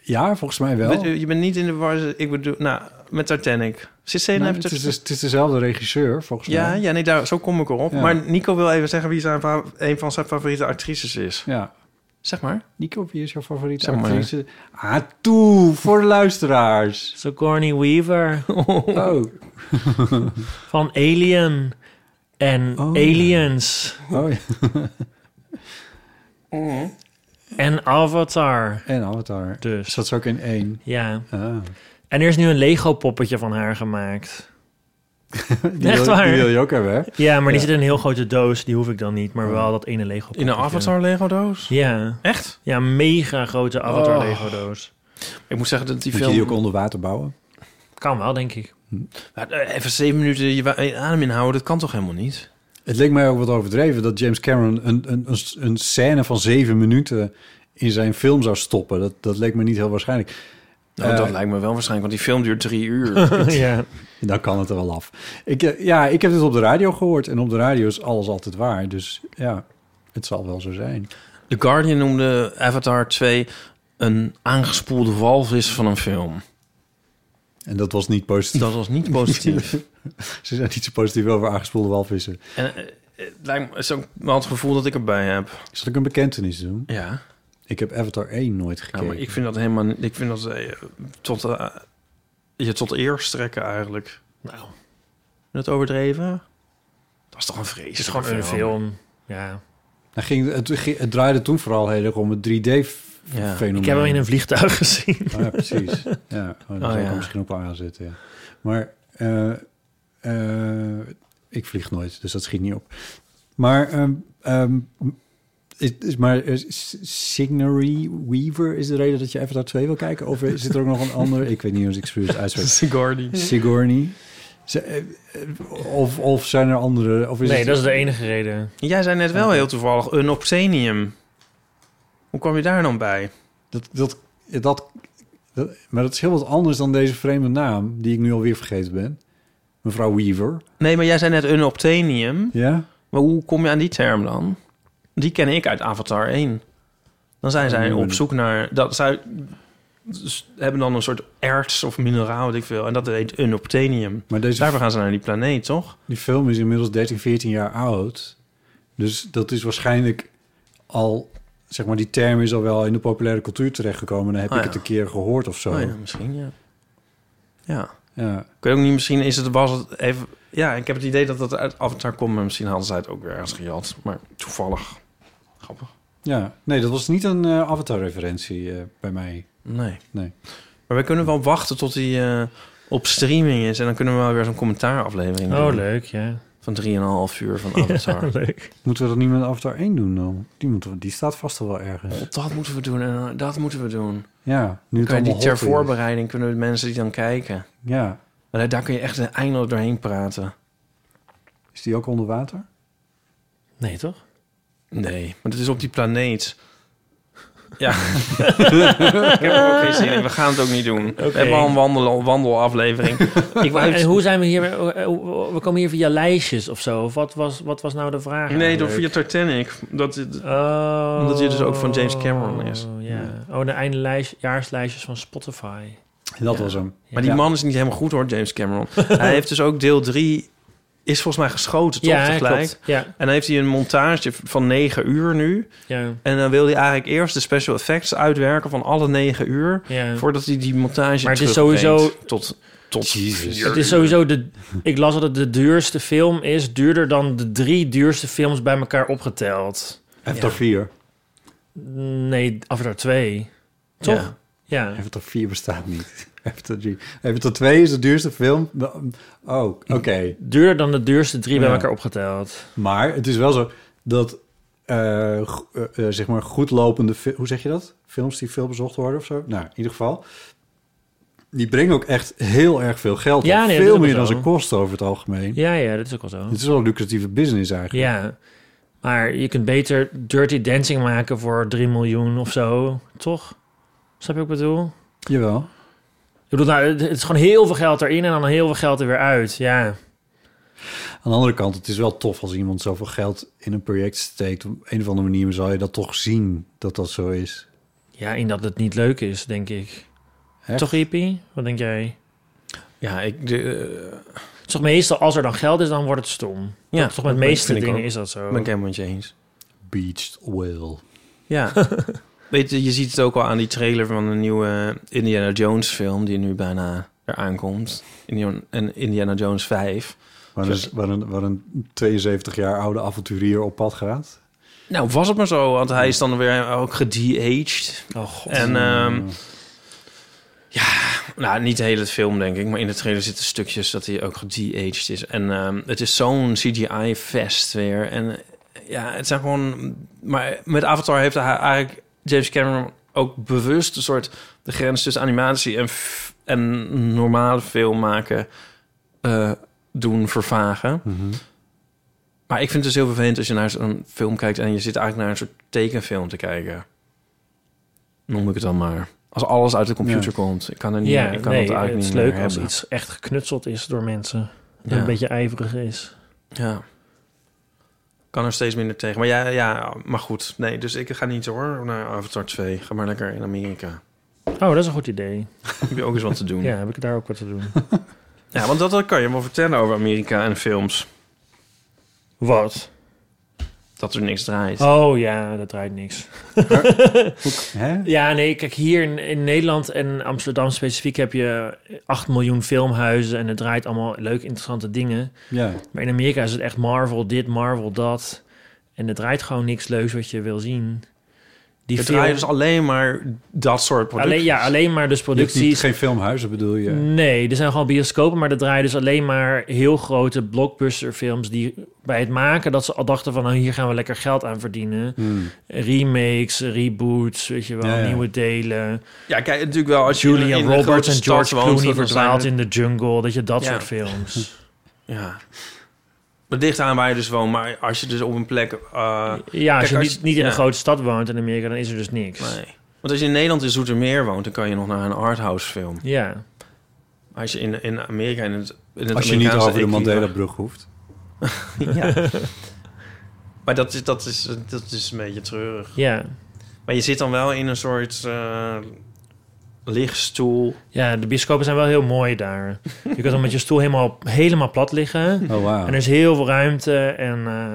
ja, volgens mij wel.
Met- eh, Je bent niet in de war. Ik bedoel, nou, met Titanic. Zit zij in
Nee, het,
Avatar 2?
is, dus- het is dezelfde regisseur, volgens
Ja,
mij.
ja, nee, daar, zo kom ik erop.
Ja.
Maar Nico wil even zeggen wie zijn, fa- een van zijn favoriete actrices is.
ja.
Zeg maar.
Nico, wie is jouw favoriete
Zeg maar.
actrice? Ah, toe, voor de
(laughs)
luisteraars.
Sigourney Weaver
Oh,
van Alien en
Oh, ja.
Aliens
oh ja.
en Avatar.
En Avatar.
Dus
Zat ze ook in één.
ja.
Ah.
En er is nu een Lego poppetje van haar gemaakt.
Die
Echt
wil,
waar?
Die wil je ook hebben, hè?
Ja, Oh. maar die
Ja.
zit in een heel grote doos. Die hoef ik dan niet, maar wel dat ene Lego poppetje.
In een Avatar Lego doos?
Ja.
Echt?
Ja, mega grote Avatar Lego doos.
Ik moet zeggen dat die
Moet je die
film...
ook onder water bouwen?
Kan wel, denk ik.
Maar, eh, Even zeven minuten je wa- je adem inhouden, dat kan toch helemaal niet?
Het leek mij ook wat overdreven dat James Cameron een, een, een, een scène van zeven minuten in zijn film zou stoppen. Dat, dat leek me niet heel waarschijnlijk.
Nou,
Eh.
dat lijkt me wel waarschijnlijk, want die film duurt drie uur.
(laughs)
(laughs)
ja.
Dan kan het er wel af. Ik, eh, ja, ik heb dit op de radio gehoord en op de radio is alles altijd waar. Dus ja, het zal wel zo zijn.
The Guardian noemde Avatar 2 een aangespoelde walvis van een film.
En dat was niet
(laughs)
positief.
Dat was niet positief.
Ze zijn niet zo positief over aangespoelde walvissen.
en eh, het lijkt me het is ook wel het gevoel dat ik erbij heb.
Zal ik een bekentenis doen?
Ja.
Ik heb Avatar 1 nooit
Ja,
gekeken.
maar ik vind dat helemaal... niet- Ik vind dat eh, tot, eh, je tot eer strekken eigenlijk.
Nou,
Dat overdreven? Dat is toch een vrees.
het is gewoon een
(laughs)
film. Ja.
Nou, ging, het, ging- het draaide toen vooral heel erg om het 3D-fenomeen.
Ja.
Ik heb hem in een vliegtuig (laughs) gezien.
Ah, ja, precies. Ja, oh, daar
Oh,
zou ik
ja.
er misschien op aanzetten. Ja. Maar eh, eh, ik vlieg nooit, dus dat schiet niet op. Maar, ehm ehm, is, is, maar is- is Signory Weaver is de reden dat je even daar twee wil kijken? Of zit er ook nog
(laughs)
een andere? Ik weet niet hoe ik het uitspreek. Sigourney. Z- eh, eh, Of, of zijn er andere? Of is
Nee,
het-
dat is de enige reden.
Jij zei net wel heel toevallig een obscenium. Hoe kwam je daar dan bij?
Dat, dat, dat, dat- maar dat is heel wat anders dan deze vreemde naam... die ik nu alweer vergeten ben. Mevrouw Weaver.
Nee, maar jij zei net een obscenium.
Ja?
Maar hoe kom je aan die term dan? Die ken ik uit Avatar 1. Dan zijn zij
nee, maar
op
Oh, die-
zoek naar... Dat, zij dus hebben dan een soort erts of mineraal, weet ik veel. En dat heet een obtenium.
Maar deze
Daarvoor gaan ze naar die planeet, toch?
Die film is inmiddels 13, 14 jaar oud. Dus dat is waarschijnlijk al, zeg maar, die term is al wel in de populaire cultuur terechtgekomen. Dan heb
Oh
ik
ja.
het een keer gehoord of zo.
Oh ja, misschien, ja. Ja.
Ja.
Ik weet ook niet, misschien is het, was het even... Ja, ik heb het idee dat dat uit Avatar komt, maar misschien hadden zij het ook weer ergens gejat. Maar toevallig. Grappig.
ja, nee, dat was niet een eh, avatar-referentie eh, bij mij.
Nee.
Nee.
Maar we kunnen wel wachten tot hij eh, op streaming is. En dan kunnen we wel weer zo'n commentaaraflevering
Oh,
doen.
leuk, ja.
Van 3,5 uur
(laughs)
van Avatar.
Leuk.
Moeten we dat niet met Avatar 1 doen dan? Die, moeten we, die staat vast al wel ergens.
dat moeten we doen en eh, dat moeten we doen.
Ja, nu het
Kan je die
allemaal
ter
hot is.
voorbereiding kunnen de mensen die dan kijken.
Ja.
Maar daar- daar kun je echt eindeloos doorheen praten.
Is die ook onder water?
Nee, toch?
Nee, want het is op die planeet. Ja, ik heb er ook geen zin in. We gaan het ook niet doen. We hebben al een wandel, wandelaflevering. ik wou
En
even-
hoe zijn we hier? We komen hier via lijstjes of zo. Of wat was, wat was nou de vraag?
Nee, door
eigenlijk?
via Titanic. Dat, eh, is-
Oh.
Omdat hij dus ook van James Cameron is.
Ja. Oh, de eindejaarslijstjes van Spotify.
Dat was hem.
maar die man is niet helemaal goed hoor, James Cameron. hij heeft dus ook deel 3... Is volgens mij geschoten, toch?
ja,
tegelijk.
klopt. Ja,
En dan heeft hij een montage van 9 uur nu.
ja,
En dan wil hij eigenlijk eerst de special effects uitwerken van alle 9 uur.
ja.
Voordat hij die montage
Maar het is
terugbrengt
sowieso-
Tot, tot vier
Het is sowieso de. Ik las dat het de duurste film is. Duurder dan de drie duurste films bij elkaar opgeteld.
Avatar 4.
Nee, Avatar 2. Toch?
Ja.
Ja.
Avatar 4 bestaat niet. (laughs) Avatar, G. Avatar 2 is de duurste film. Oh, oké.
Duurder dan de duurste drie bij
Ja.
elkaar opgeteld.
Maar het is wel zo dat, eh, go- eh, eh, zeg maar, goed lopende... fi- Hoe zeg je dat? Films die veel bezocht worden of zo? Nou, in ieder geval. Die brengen ook echt heel erg veel geld.
Ja,
op.
nee, dat is
veel
ook
meer
wel
dan
zo.
ze kosten over het algemeen.
Ja, ja, dat is ook wel zo.
Het is wel een lucratieve business eigenlijk.
Ja. Maar je kunt beter Dirty Dancing maken voor 3 miljoen of zo. Toch? Snap je wat ik bedoel?
Jawel.
Ik bedoel, nou, het het is gewoon heel veel geld erin en dan heel veel geld er weer uit. Ja.
Aan de andere kant, het is wel tof als iemand zoveel geld in een project steekt. Op een of andere manier zal je dat toch zien dat dat zo is.
Ja, in dat het niet leuk is, denk ik.
Echt?
Toch, Ippie? Wat denk jij?
Ja, ik... De, eh,
Het is toch meestal, als er dan geld is, dan wordt het stom.
Ja,
Ja, toch met de
dat
meeste
vind ik
dingen
ook.
is dat zo.
ben ik helemaal met je eens.
Beached whale.
(laughs) Ja. Weet je, je ziet het ook al aan die trailer van de nieuwe eh, Indiana Jones film... die nu bijna eraan komt. Indiana, en Indiana Jones 5.
Waar een, waar, een, waar een 72 jaar oude avonturier op pad gaat.
Nou, was het maar zo, want hij is dan weer ook gede-aged.
Oh god.
En ehm, ja, nou, niet de hele film denk ik, maar in de trailer zitten stukjes dat hij ook gede-aged is. En ehm, het is zo'n CGI-fest weer. En eh, ja, het zijn gewoon... Maar met Avatar heeft hij eigenlijk James Cameron ook bewust een soort de grens tussen animatie en, f- en normale film maken eh, doen vervagen.
Mhm.
Maar ik vind het dus heel vervelend als je naar zo'n film kijkt en je zit eigenlijk naar een soort tekenfilm te kijken. Noem ik het dan maar. Als alles uit de computer
Ja.
komt. Ik kan, er niet,
ja,
ik kan
nee,
het eigenlijk
het is
niet
leuk
meer
als
hebben.
iets echt geknutseld is door mensen.
Ja.
En een beetje ijverig is.
Ja. Ik kan er steeds minder tegen. Maar ja, ja, maar goed. Nee, dus ik ga niet hoor naar Avatar 2. Ga maar lekker in Amerika.
Oh, dat is een goed idee.
Heb je ook eens wat te doen.
(laughs) Ja, heb ik daar ook wat te
(laughs)
doen.
Ja, want dat, dat kan je wel vertellen over Amerika en films.
wat?
Dat er niks draait.
Oh ja, dat draait niks.
Hè?
Ja, nee, kijk, hier in, in Nederland en Amsterdam specifiek heb je 8 miljoen filmhuizen en het draait allemaal leuke, interessante dingen.
Ja.
Maar in Amerika is het echt Marvel dit, Marvel dat. En het draait gewoon niks leuks wat je wil zien. Die
Het
film-
draait dus alleen maar dat soort producten.
alleen, ja, alleen maar dus
Je hebt niet,
producties. Mm.
geen filmhuizen bedoel je?
Nee, er zijn gewoon bioscopen, maar er draaien dus alleen maar heel grote blockbusterfilms die bij het maken dat ze al dachten van nou, hier gaan we lekker geld aan verdienen.
Hmm.
Remakes, reboots, weet je wel,
Ja, ja.
nieuwe delen.
Ja, kijk, natuurlijk wel als je in
Julia
een- in een
Roberts
grote
en
stad
George
woont,
Clooney
dat er
verdwaald
zijn-
in de jungle, dat je dat
Ja.
soort films.
(laughs) Ja. Maar dicht aan waar je dus woont. Maar als je dus op een plek... eh,
Ja, als
Kijk,
je
als
niet,
je-
niet in
ja.
een grote stad woont in Amerika, dan is er dus niks.
nee. Want als je in Nederland in Zoetermeer woont... dan kan je nog naar een arthouse film.
Ja.
Als je in, in Amerika... In het, in het
Als je niet
Amerikaanse
over de
equipe-
Mandela-brug hoeft.
ja. Maar dat is, dat, is, dat is een beetje treurig.
ja.
Maar je zit dan wel in een soort eh, lichtstoel.
Ja, de bioscopen zijn wel heel mooi daar. Je kunt dan met je stoel helemaal, helemaal plat liggen.
Oh, wauw.
En er is heel veel ruimte en eh,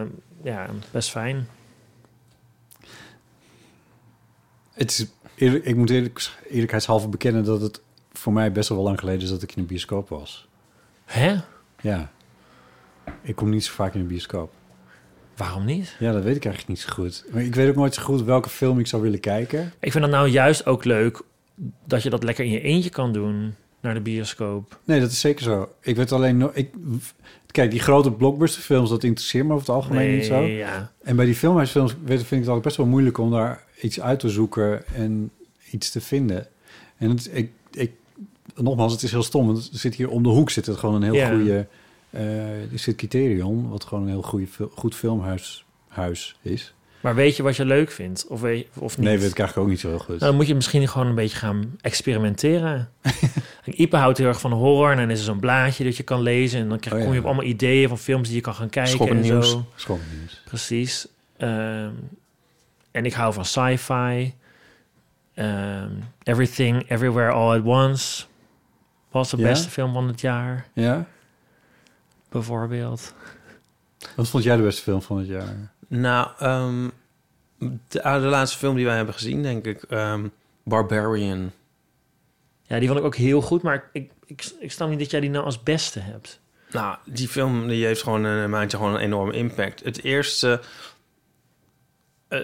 ja, best fijn.
Het is, eerlijk- ik moet eerlijk, eerlijkheidshalve bekennen dat het voor mij best wel lang geleden is dat ik in een bioscoop was.
Hè?
Ja. Ik kom niet zo vaak in een bioscoop.
Waarom niet?
Ja, dat weet ik eigenlijk niet zo goed. Maar ik weet ook nooit zo goed welke film ik zou willen kijken.
Ik vind het nou juist ook leuk dat je dat lekker in je eentje kan doen naar de bioscoop.
Nee, dat is zeker zo. Ik weet alleen... no- Ik, kijk, die grote blockbusterfilms, dat interesseert me over het algemeen niet zo.
ja.
En bij die filmhuisfilms weet- vind ik het ook best wel moeilijk om daar iets uit te zoeken en iets te vinden. En het, ik, ik, nogmaals, het is heel stom, want er zit hier om de hoek zit het gewoon een heel
Ja.
goede... eh er zit Criterion, wat gewoon een heel goede, fil- goed filmhuis huis is.
Maar weet je wat je leuk vindt? Of, weet, of niet?
Nee, weet ik eigenlijk ook niet zo heel goed.
Nou, dan moet je misschien gewoon een beetje gaan
(laughs)
experimenteren. en Ipe houdt heel erg van horror. En dan is er zo'n blaadje dat je kan lezen. En dan krijg,
Oh, ja.
kom je op allemaal ideeën van films die je kan gaan kijken.
Schokkend
en
nieuws.
Zo.
Schoon nieuws.
Precies. Ehm, en ik hou van sci-fi. Ehm, Everything, Everywhere, All at Once. Was de
Ja?
beste film van het jaar,
Ja?
bijvoorbeeld.
Wat vond jij de beste film van het jaar?
Nou, ehm, de, ah, de laatste film die wij hebben gezien, denk ik. ehm, Barbarian.
Ja, die vond ik ook heel goed. Maar ik, ik, ik snap niet dat jij die nou als beste hebt.
Nou, die film die heeft gewoon een, maakt gewoon een enorme impact. Het eerste... eh,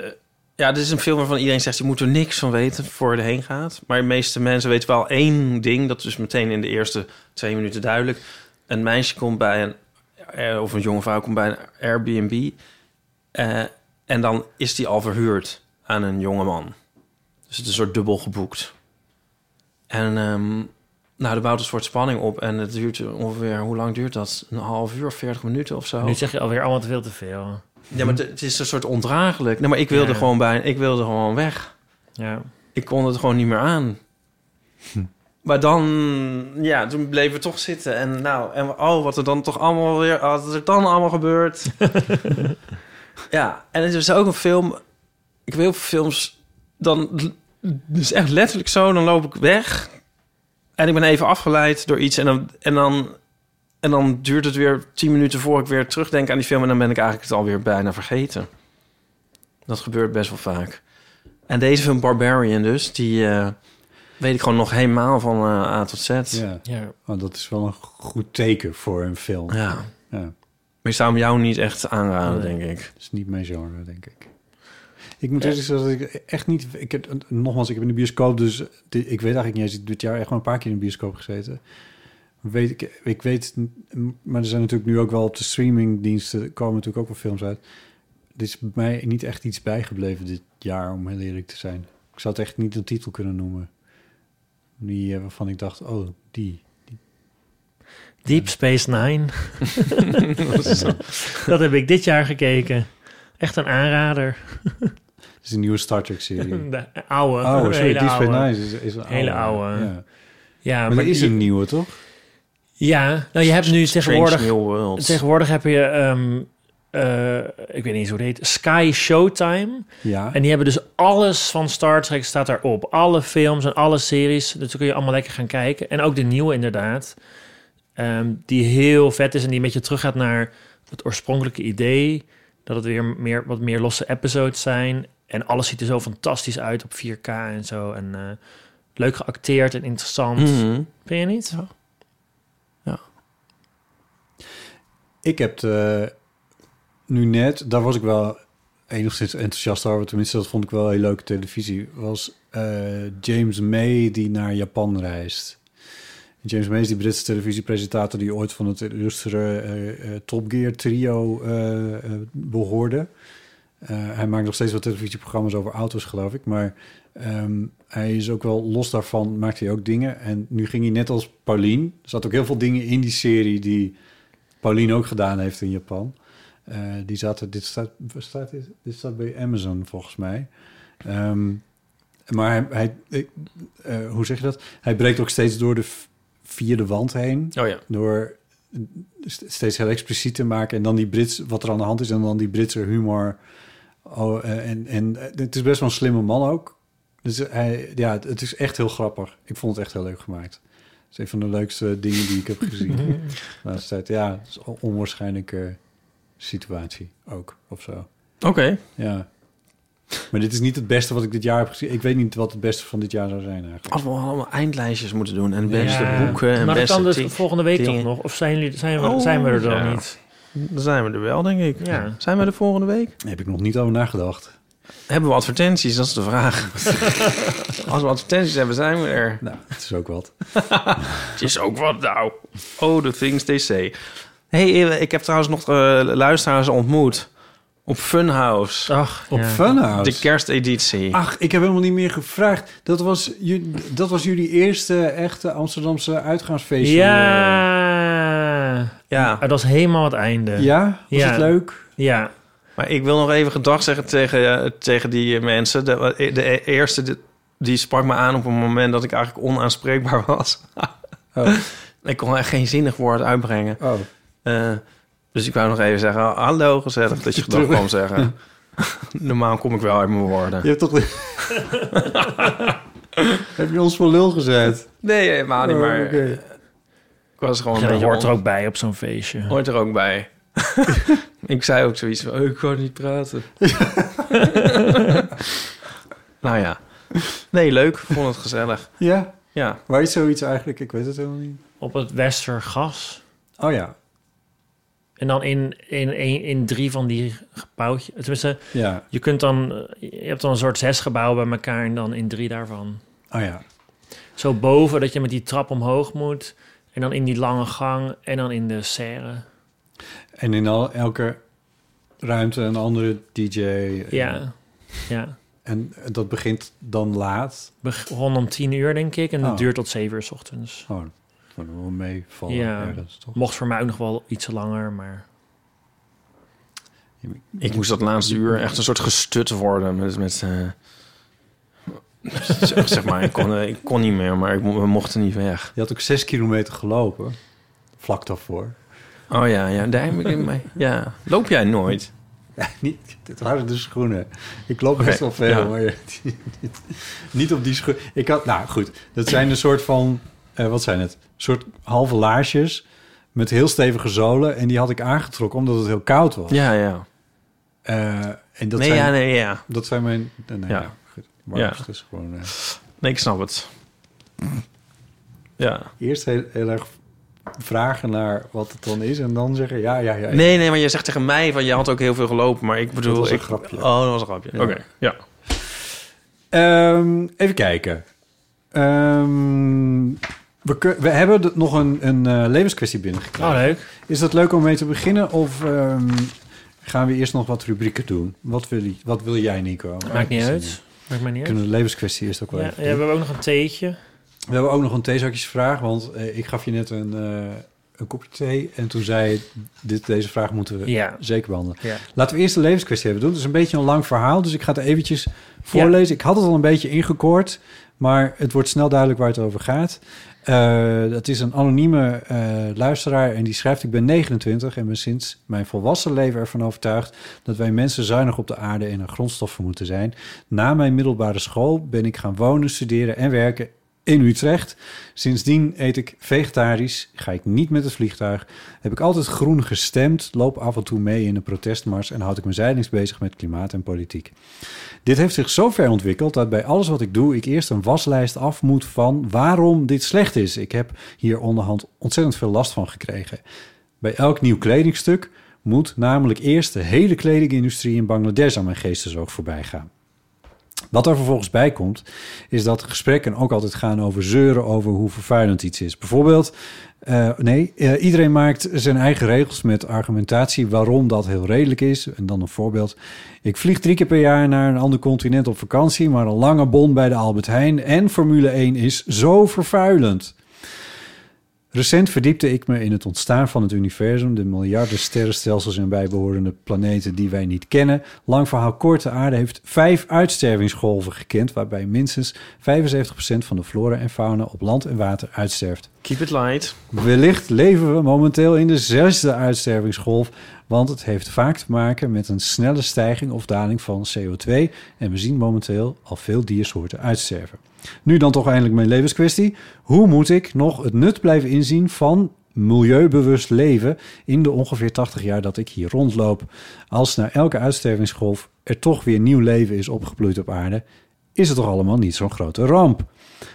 ja, dit is een film waarvan iedereen zegt... je moet er niks van weten voor je erheen gaat. Maar de meeste mensen weten wel één ding. Dat is dus meteen in de eerste twee minuten duidelijk. Een meisje komt bij een... eh, of een jonge vrouw komt bij een Airbnb. eh, en dan is die al verhuurd aan een jonge man. Dus het is een soort dubbel geboekt. En... ehm, nou, er bouwt een soort spanning op en het duurt ongeveer, hoe lang duurt dat? Een half uur, veertig minuten of
Oh.
zo?
Nu zeg je alweer allemaal te veel te veel.
Ja, maar het- het is een soort ondraaglijk. Nee, maar ik wilde
Ja.
gewoon bij, ik wilde gewoon weg.
Ja.
Ik kon het gewoon niet meer aan. Maar dan, ja, toen bleven we toch zitten. En nou, en oh, wat er dan toch allemaal weer, wat er dan allemaal gebeurt. ja, en het is ook een film. Ik wil films, dan, het is echt letterlijk zo, dan loop ik weg. En ik ben even afgeleid door iets. En dan, en dan, en dan duurt het weer tien minuten voor ik weer terugdenk aan die film. En dan ben ik eigenlijk het alweer bijna vergeten. Dat gebeurt best wel vaak. En deze film Barbarian dus, die eh, weet ik gewoon nog helemaal van eh, A tot Z. Ja.
Ja,
ja.
oh, dat is wel een goed teken voor een film. Ja.
Maar ik zou hem jou niet echt aanraden,
Nee.
denk ik.
Dat is niet mijn genre, denk ik. Ik moet eerlijk zeggen dat ik echt niet... Ik heb, nogmaals, ik heb in de bioscoop, dus di- ik weet eigenlijk niet eens... Dit jaar echt gewoon een paar keer in de bioscoop gezeten. Weet ik, ik weet... n- Maar er zijn natuurlijk nu ook wel op de streamingdiensten... komen natuurlijk ook wel films uit. Dit is bij mij niet echt iets bijgebleven dit jaar, om heel eerlijk te zijn. Ik zou het echt niet een titel kunnen noemen. Die, eh, waarvan ik dacht, oh, die.
Deep Space Nine. (laughs) dat heb ik dit jaar gekeken. Echt een aanrader.
Dat is een nieuwe
(laughs)
Star Trek-serie.
De oude.
Oh,
de
sorry,
hele
Deep Space
oude.
Nine is, is een
Hele oude.
Ja. Maar,
Ja,
er is
die-
een nieuwe, toch?
Ja, nou je hebt nu
Strange
tegenwoordig...
New World.
Tegenwoordig heb je... ehm, eh, ik weet niet eens hoe het heet. Sky Showtime.
Ja.
En die hebben dus alles van Star Trek staat daarop. Alle films en alle series. Dus dan kun je allemaal lekker gaan kijken. En ook de nieuwe inderdaad. Ehm, die heel vet is en die een beetje teruggaat naar het oorspronkelijke idee. Dat het weer meer, wat meer losse episodes zijn. En alles ziet er zo fantastisch uit op 4K en zo. En eh, leuk geacteerd en interessant.
Mhm.
Vind je niet?
Ik heb de, nu net, daar was ik wel enigszins enthousiast over. Tenminste, dat vond ik wel heel leuke televisie. Was eh, James May die naar Japan reist. James May is die Britse televisiepresentator die ooit van het illustere eh, eh, Top Gear trio eh, eh, behoorde. Eh, hij maakt nog steeds wel televisieprogramma's over auto's, geloof ik. Maar ehm, hij is ook wel los daarvan, maakt hij ook dingen. En nu ging hij net als Pauline. Er zat ook heel veel dingen in die serie die Pauline ook gedaan heeft in Japan. Eh, die zaten, dit staat, waar staat dit? dit staat bij Amazon volgens mij. Ehm, maar hij, hij ik- eh, hoe zeg je dat? Hij breekt ook steeds door de v- vierde wand heen
Oh ja.
door st- steeds heel expliciet te maken en dan die Brits wat er aan de hand is en dan die Britse humor. Oh, eh, en, en eh, het is best wel een slimme man ook. Dus hij, ja, het- het is echt heel grappig. Ik vond het echt heel leuk gemaakt. Het is een van de leukste dingen die ik heb gezien de laatste tijd. Ja, het is on- onwaarschijnlijk eh, situatie ook of zo.
Oké.
Ja. Maar dit is niet het beste wat ik dit jaar heb gezien. Ik weet niet wat het beste van dit jaar zou zijn eigenlijk.
Als we allemaal eindlijstjes moeten doen en beste
Ja.
boeken
Mag
en
het
beste
dan dus
ti-
volgende week
dingen.
toch nog? Of zijn, jullie, zijn, we,
Oh,
zijn we er dan
ja.
niet?
Dan zijn we er wel, denk ik.
Ja.
Zijn we er volgende week?
Daar heb ik nog niet over nagedacht.
Hebben we advertenties? Dat is de vraag. (laughs) Als we advertenties hebben, zijn we er.
Nou, het is ook wat.
Het is ook wat nou. Oh, the things they say. hey, eh, ik heb trouwens nog eh, luisteraars ontmoet op Funhouse.
Ach,
Op
ja. Oh.
Funhouse.
De kersteditie.
Ach, ik heb helemaal niet meer gevraagd. Dat was, ju- dat was jullie eerste echte Amsterdamse uitgaansfeestje.
Ja.
ja,
Ah, dat is helemaal het einde.
Ja? Was
Ja.
het leuk?
Ja.
maar ik wil nog even gedag zeggen tegen, eh, tegen die eh, mensen. De, de e- eerste die, die sprak me aan op een moment dat ik eigenlijk onaanspreekbaar (laughs) was.
Oh.
Ik kon echt geen zinnig woord uitbrengen.
(laughs)
Oh.
Eh, dus ik wou nog even zeggen, hallo gezellig dat je
(laughs)
gedag
Terug.
kwam zeggen. (laughs) Normaal kom ik wel uit mijn woorden.
Je hebt toch... (laughs) heb je ons voor lul gezet?
Nee, helemaal niet,
Oh,
maar
oké.
ik was gewoon een
Ja, dat
beetje
hoort er
on-
ook bij op zo'n feestje.
hoort er ook
(laughs)
bij. ik zei ook zoiets van, oh, ik kan niet
(laughs)
praten. (laughs) nou ja. Nee, leuk. Vond het gezellig.
Ja?
Ja.
Waar is zoiets eigenlijk? Ik weet het helemaal niet.
Op het Westergas.
Oh ja.
En dan in, in, in, in drie van die gebouwtje. Tenminste,
Ja.
je kunt dan... eh, Je hebt dan een soort zes gebouwen bij elkaar en dan in drie daarvan.
Oh ja.
Zo boven dat je met die trap omhoog moet. En dan in die lange gang. En dan in de serre.
En in al, elke ruimte een andere DJ.
Ja. Ja.
En dat begint dan laat.
Begon om tien uur, denk ik. En dat
Oh.
duurt tot zeven uur s ochtends.
Oh, dat moet wel meevallen
Ja.
ergens, toch?
Mocht voor mij ook nog wel iets langer, maar...
Ik moest dat laatste uur echt een soort gestut worden. Met, met, eh, (laughs) zeg zeg maar, ik kon, eh, ik kon niet meer, maar ik, mo- we mochten niet weg.
Je had ook zes kilometer gelopen. Vlak daarvoor. (laughs)
Oh ja, ja, daar heb ik in mij. Ja. Loop jij nooit?
Ja, niet, het waren de schoenen. Ik loop
Oké,
best wel veel,
ja.
maar je- niet op die schoenen. Ik had, nou goed, dat zijn een soort van, eh, wat zijn het? Een soort halve laarsjes met heel stevige zolen. En die had ik aangetrokken omdat het heel koud was.
Ja, ja.
Eh, en dat,
nee,
zijn,
ja, nee, ja.
dat zijn mijn, eh, nee,
Ja.
ja. goed. Warmst is gewoon, eh,
Nee, ik snap het. Ja.
eerst heel, heel erg vragen naar wat het dan is. En dan zeggen, ja, ja, ja.
Nee, nee, maar je zegt tegen mij van je had ook heel veel gelopen, maar ik bedoel.
was een
ik,
grapje.
Oh, dat was een grapje.
Ja.
Oké, ja.
Ehm, even kijken. Ehm, we, kun- we hebben d- nog een, een eh, levenskwestie binnengekregen.
Oh, leuk.
Is dat leuk om mee te beginnen? Of ehm, gaan we eerst nog wat rubrieken doen? Wat wil, je- wat wil jij, Nico?
Maakt niet
Zin
uit. Maakt mij
in.
niet uit.
Kunnen we de levenskwestie eerst ook
Ja,
wel
ja,
even
we
doen?
hebben ook nog een theetje.
We hebben ook nog een theezakjesvraag. Want eh, ik gaf je net een, eh, een kopje thee. En toen zei je, dit, deze vraag moeten we
Ja.
zeker behandelen.
Ja.
Laten we eerst de levenskwestie even doen. Het is een beetje een lang verhaal, dus ik ga het eventjes voorlezen. Ik had het al een beetje ingekoord, maar het wordt snel duidelijk waar het over gaat. Eh, dat is een anonieme eh, luisteraar en die schrijft... ik ben 29 en ben sinds mijn volwassen leven ervan overtuigd... dat wij mensen zuinig op de aarde en er grondstoffen moeten zijn. Na mijn middelbare school ben ik gaan wonen, studeren en werken in Utrecht. Sindsdien eet ik vegetarisch, ga ik niet met het vliegtuig... Heb ik altijd groen gestemd, loop af en toe mee in de protestmars en houd ik me zijdelings bezig met klimaat en politiek. Dit heeft zich zo ver ontwikkeld dat bij alles wat ik doe, ik eerst een waslijst af moet van waarom dit slecht is. Ik heb hier onderhand ontzettend veel last van gekregen. Bij elk nieuw kledingstuk moet namelijk eerst de hele kledingindustrie in Bangladesh aan mijn geestesoog voorbij gaan. Wat er vervolgens bij komt, is dat gesprekken ook altijd gaan over zeuren over hoe vervuilend iets is. Bijvoorbeeld, eh, nee, eh, iedereen maakt zijn eigen regels met argumentatie waarom dat heel redelijk is. En dan een voorbeeld. Ik vlieg drie keer per jaar naar een ander continent op vakantie, maar een lange bon bij de Albert Heijn en Formule 1 is zo vervuilend. Recent verdiepte ik me in het ontstaan van het universum, de miljarden sterrenstelsels en bijbehorende planeten die wij niet kennen. Lang verhaal kort, de aarde heeft vijf uitstervingsgolven gekend, waarbij minstens 75% van de flora en fauna op land en water uitsterft.
Keep it light.
Wellicht leven we momenteel in de zesde uitstervingsgolf, want het heeft vaak te maken met een snelle stijging of daling van CO2 en we zien momenteel al veel diersoorten uitsterven. Nu dan toch eindelijk mijn levenskwestie. Hoe moet ik nog het nut blijven inzien van milieubewust leven in de ongeveer 80 jaar dat ik hier rondloop. Als na elke uitstervingsgolf er toch weer nieuw leven is opgebloeid op aarde, is het toch allemaal niet zo'n grote ramp.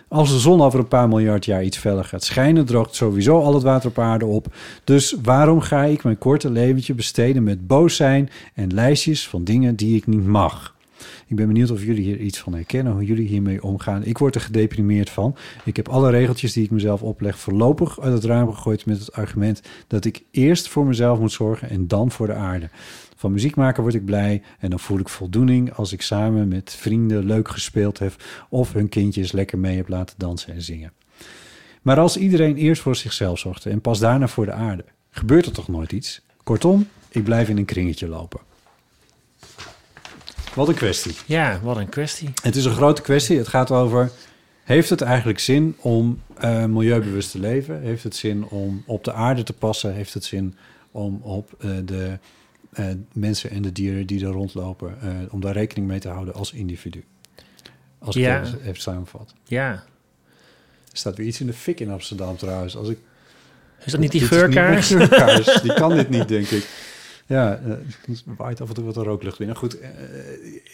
Als de zon over een paar miljard jaar iets feller gaat schijnen, droogt sowieso al het water op aarde op. Dus waarom ga ik mijn korte leventje besteden met boos zijn en lijstjes van dingen die ik niet mag? Ik ben benieuwd of jullie hier iets van herkennen, hoe jullie hiermee omgaan. Ik word er gedeprimeerd van. Ik heb alle regeltjes die ik mezelf opleg voorlopig uit het raam gegooid met het argument dat ik eerst voor mezelf moet zorgen en dan voor de aarde. Van muziek maken word ik blij en dan voel ik voldoening als ik samen met vrienden leuk gespeeld heb of hun kindjes lekker mee heb laten dansen en zingen. Maar als iedereen eerst voor zichzelf zorgde en pas daarna voor de aarde, gebeurt er toch nooit iets? Kortom, ik blijf in een kringetje lopen. Wat een kwestie.
Ja, wat een kwestie.
Het is een grote kwestie. Het gaat over: heeft het eigenlijk zin om eh, milieubewust te leven? Heeft het zin om op de aarde te passen? Heeft het zin om op eh, de eh, mensen en de dieren die er rondlopen, eh, om daar rekening mee te houden als individu? Als ik
Ja.
het even- even samenvat.
Ja.
Er staat weer iets in de fik in Amsterdam trouwens. Als ik,
Is dat niet die
dit is mijn
geurkaars?
geurkaars. die kan dit niet, denk ik. Ja, eh, het waait af en toe wat een rooklucht binnen. Goed, eh,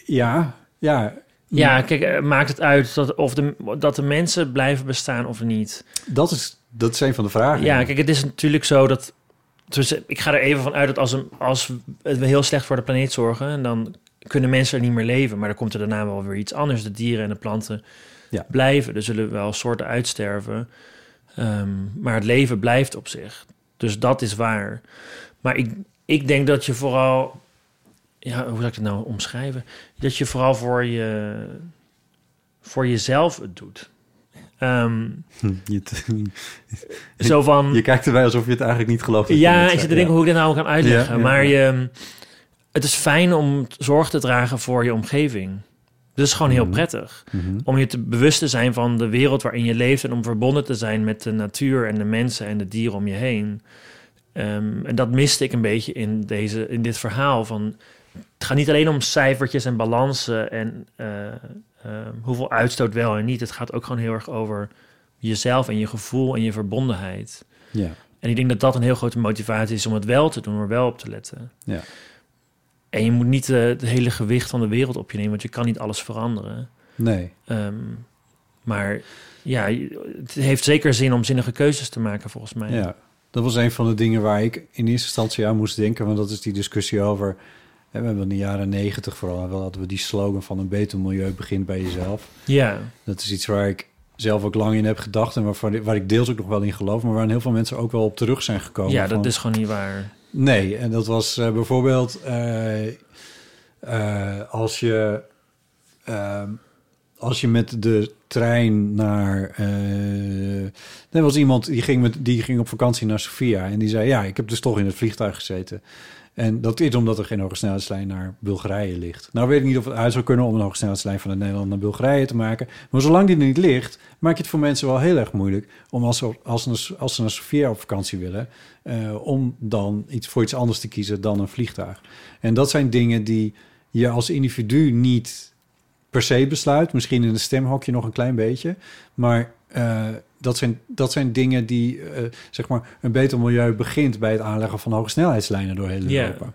ja, ja,
Ja, kijk, eh, maakt het uit dat, of de, dat de mensen blijven bestaan of niet?
dat is, dat is een van de vragen.
Ja, kijk, het is natuurlijk zo dat... Dus eh, ik ga er even van uit dat als, een, als we heel slecht voor de planeet zorgen... en dan kunnen mensen er niet meer leven. Maar dan komt er daarna wel weer iets anders. De dieren en de planten
Ja.
blijven. Er zullen wel soorten uitsterven. Ehm, maar het leven blijft op zich. Dus dat is waar. Maar ik, ik denk dat je vooral... Ja, hoe zou ik het nou omschrijven? Dat je vooral voor, je, voor jezelf het doet. Ehm,
Hm, Je,
zo van...
je kijkt erbij alsof je het eigenlijk niet gelooft. dat je
Ja,
dit
ik
zei.
zit te denken hoe ik dit nou kan uitleggen.
Ja, ja,
maar
ja.
Je, het is fijn om t- zorg te dragen voor je omgeving. Dat is gewoon heel prettig.
Mhm.
Om je te bewust te zijn van de wereld waarin je leeft... en om verbonden te zijn met de natuur en de mensen en de dieren om je heen. Ehm, en dat miste ik een beetje in, deze, in dit verhaal. Van, het gaat niet alleen om cijfertjes en balansen... en eh, ehm, hoeveel uitstoot wel en niet. Het gaat ook gewoon heel erg over jezelf en je gevoel en je verbondenheid.
Ja.
En ik denk dat dat een heel grote motivatie is om het wel te doen, om er wel op te letten.
Ja.
En je moet niet eh, het hele gewicht van de wereld op je nemen, want je kan niet alles veranderen.
Nee.
Ehm, maar ja, je- het heeft zeker zin om zinnige keuzes te maken, volgens mij.
Ja. Dat was een van de dingen waar ik in eerste instantie aan moest denken. Want dat is die discussie over... hè, We hebben in de jaren negentig vooral wel hadden we die slogan van een beter milieu begint bij jezelf.
ja.
Dat is iets waar ik zelf ook lang in heb gedacht en waarvan, waar ik deels ook nog wel in geloof, maar waar heel veel mensen ook wel op terug zijn gekomen.
Ja, dat
van-
is gewoon niet waar.
Nee, en dat was eh, bijvoorbeeld eh, eh, als je. ehm, als je met de trein naar. eh, er was iemand die ging, met, die ging op vakantie naar Sofia. En die zei: Ja, ik heb dus toch in het vliegtuig gezeten. En dat is omdat er geen hoge snelheidslijn naar Bulgarije ligt. Nou weet ik niet of het uit zou kunnen om een hoge snelheidslijn van Nederland naar Bulgarije te maken. Maar zolang die er niet ligt, maak je het voor mensen wel heel erg moeilijk. Om als ze, als ze, als ze naar Sofia op vakantie willen, eh, om dan iets, voor iets anders te kiezen dan een vliegtuig. En dat zijn dingen die je als individu niet per se besluit. Misschien in een stemhokje nog een klein beetje. Maar eh, dat, zijn, dat zijn dingen die, eh, zeg maar, een beter milieu begint bij het aanleggen van hoge snelheidslijnen door heel
Ja.
Europa.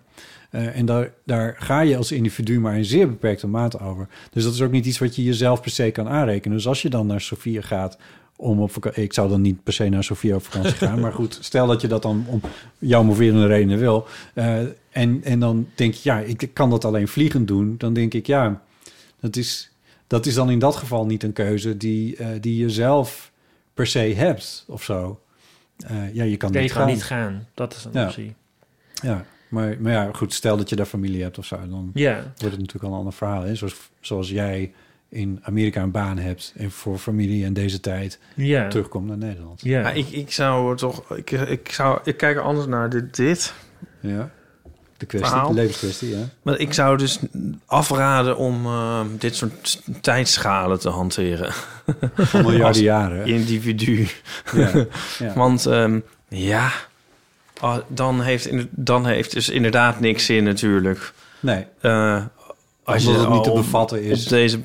Eh, en daar, daar ga je als individu maar in zeer beperkte mate over. Dus dat is ook niet iets wat je jezelf per se kan aanrekenen. Dus als je dan naar Sofia gaat om op vakantie... Ik zou dan niet per se naar Sofia op vakantie gaan. Maar goed, stel dat je dat dan om jouw moverende redenen wil. eh, en, en dan denk je, ja, ik kan dat alleen vliegend doen. Dan denk ik, ja, dat is, dat is dan in dat geval niet een keuze die, eh, die je zelf per se hebt of zo. Eh, ja, je kan
Nee, je
niet
kan
gaan.
niet gaan. Dat is een
Ja.
optie.
Ja, maar, maar ja, goed, stel dat je daar familie hebt of zo, dan
Ja.
wordt het natuurlijk al een ander verhaal. Hè? Zoals, zoals jij in Amerika een baan hebt en voor familie en deze tijd
Ja.
terugkomt naar Nederland.
Ja.
Maar Ah, ik, ik zou toch... Ik, ik, zou, ik kijk er anders naar dit. dit.
Ja, de kwestie,
Verhaal.
de levenskwestie, ja.
Maar ik zou dus afraden om eh, dit soort tijdschalen te hanteren.
Van
(laughs)
miljarden jaren. hè?
Individu.
Ja. Ja.
Want ehm, ja, ah, dan, heeft, in- dan heeft dus inderdaad niks zin natuurlijk.
Nee,
Eh,
als je het niet te
al
bevatten
Op
is.
deze,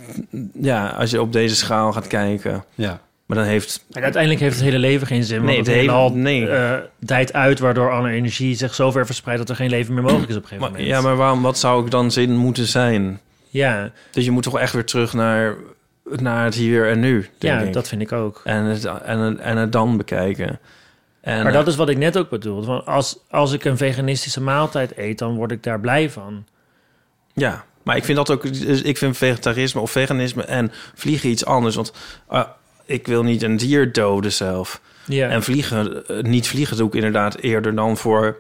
ja, als je op deze schaal gaat kijken.
Ja,
Maar dan heeft...
En uiteindelijk heeft het hele leven geen zin.
Nee,
want
het
het hele
hele-
al
nee.
dijt uit, waardoor alle energie zich zo ver verspreidt dat er geen leven meer mogelijk is op een gegeven
Maar,
moment.
ja, maar waarom, wat zou ik dan zin moeten zijn?
ja,
Dus je moet toch echt weer terug naar, naar het hier en nu,
ja
denk ik.
dat vind ik ook.
En, het, en, het- en het dan bekijken. En, eh,
maar dat is wat ik net ook bedoelde. Want als, als ik een veganistische maaltijd eet, dan word ik daar blij van.
Ja, maar ik vind dat ook. dus Ik vind vegetarisme of veganisme en vliegen iets anders. Want eh, ik wil niet een dier doden zelf.
Ja,
En vliegen, eh, niet vliegen doe ik inderdaad eerder dan voor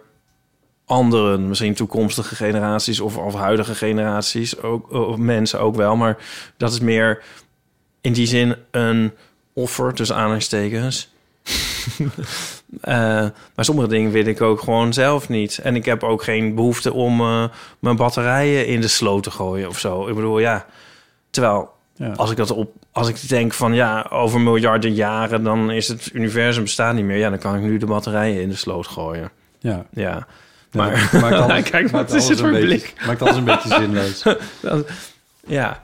anderen. Misschien toekomstige generaties of, of huidige generaties. Ook, of mensen ook wel. Maar dat is meer in die zin een offer tussen aanhalingstekens. Eh, maar sommige dingen weet ik ook gewoon zelf niet. En ik heb ook geen behoefte om eh, mijn batterijen in de sloot te gooien of zo. Ik bedoel, ja. Terwijl
Ja.
als ik dat op, als ik denk van ja, over miljarden jaren dan is het universum bestaat niet meer. Ja, dan kan ik nu de batterijen in de sloot gooien.
ja.
Ja,
Ja,
maar
dat (laughs) maakt alles-
Kijk, wat
maakt
is
alles
het
een
voor
beetje- Maakt alles een beetje (laughs) zinloos.
ja.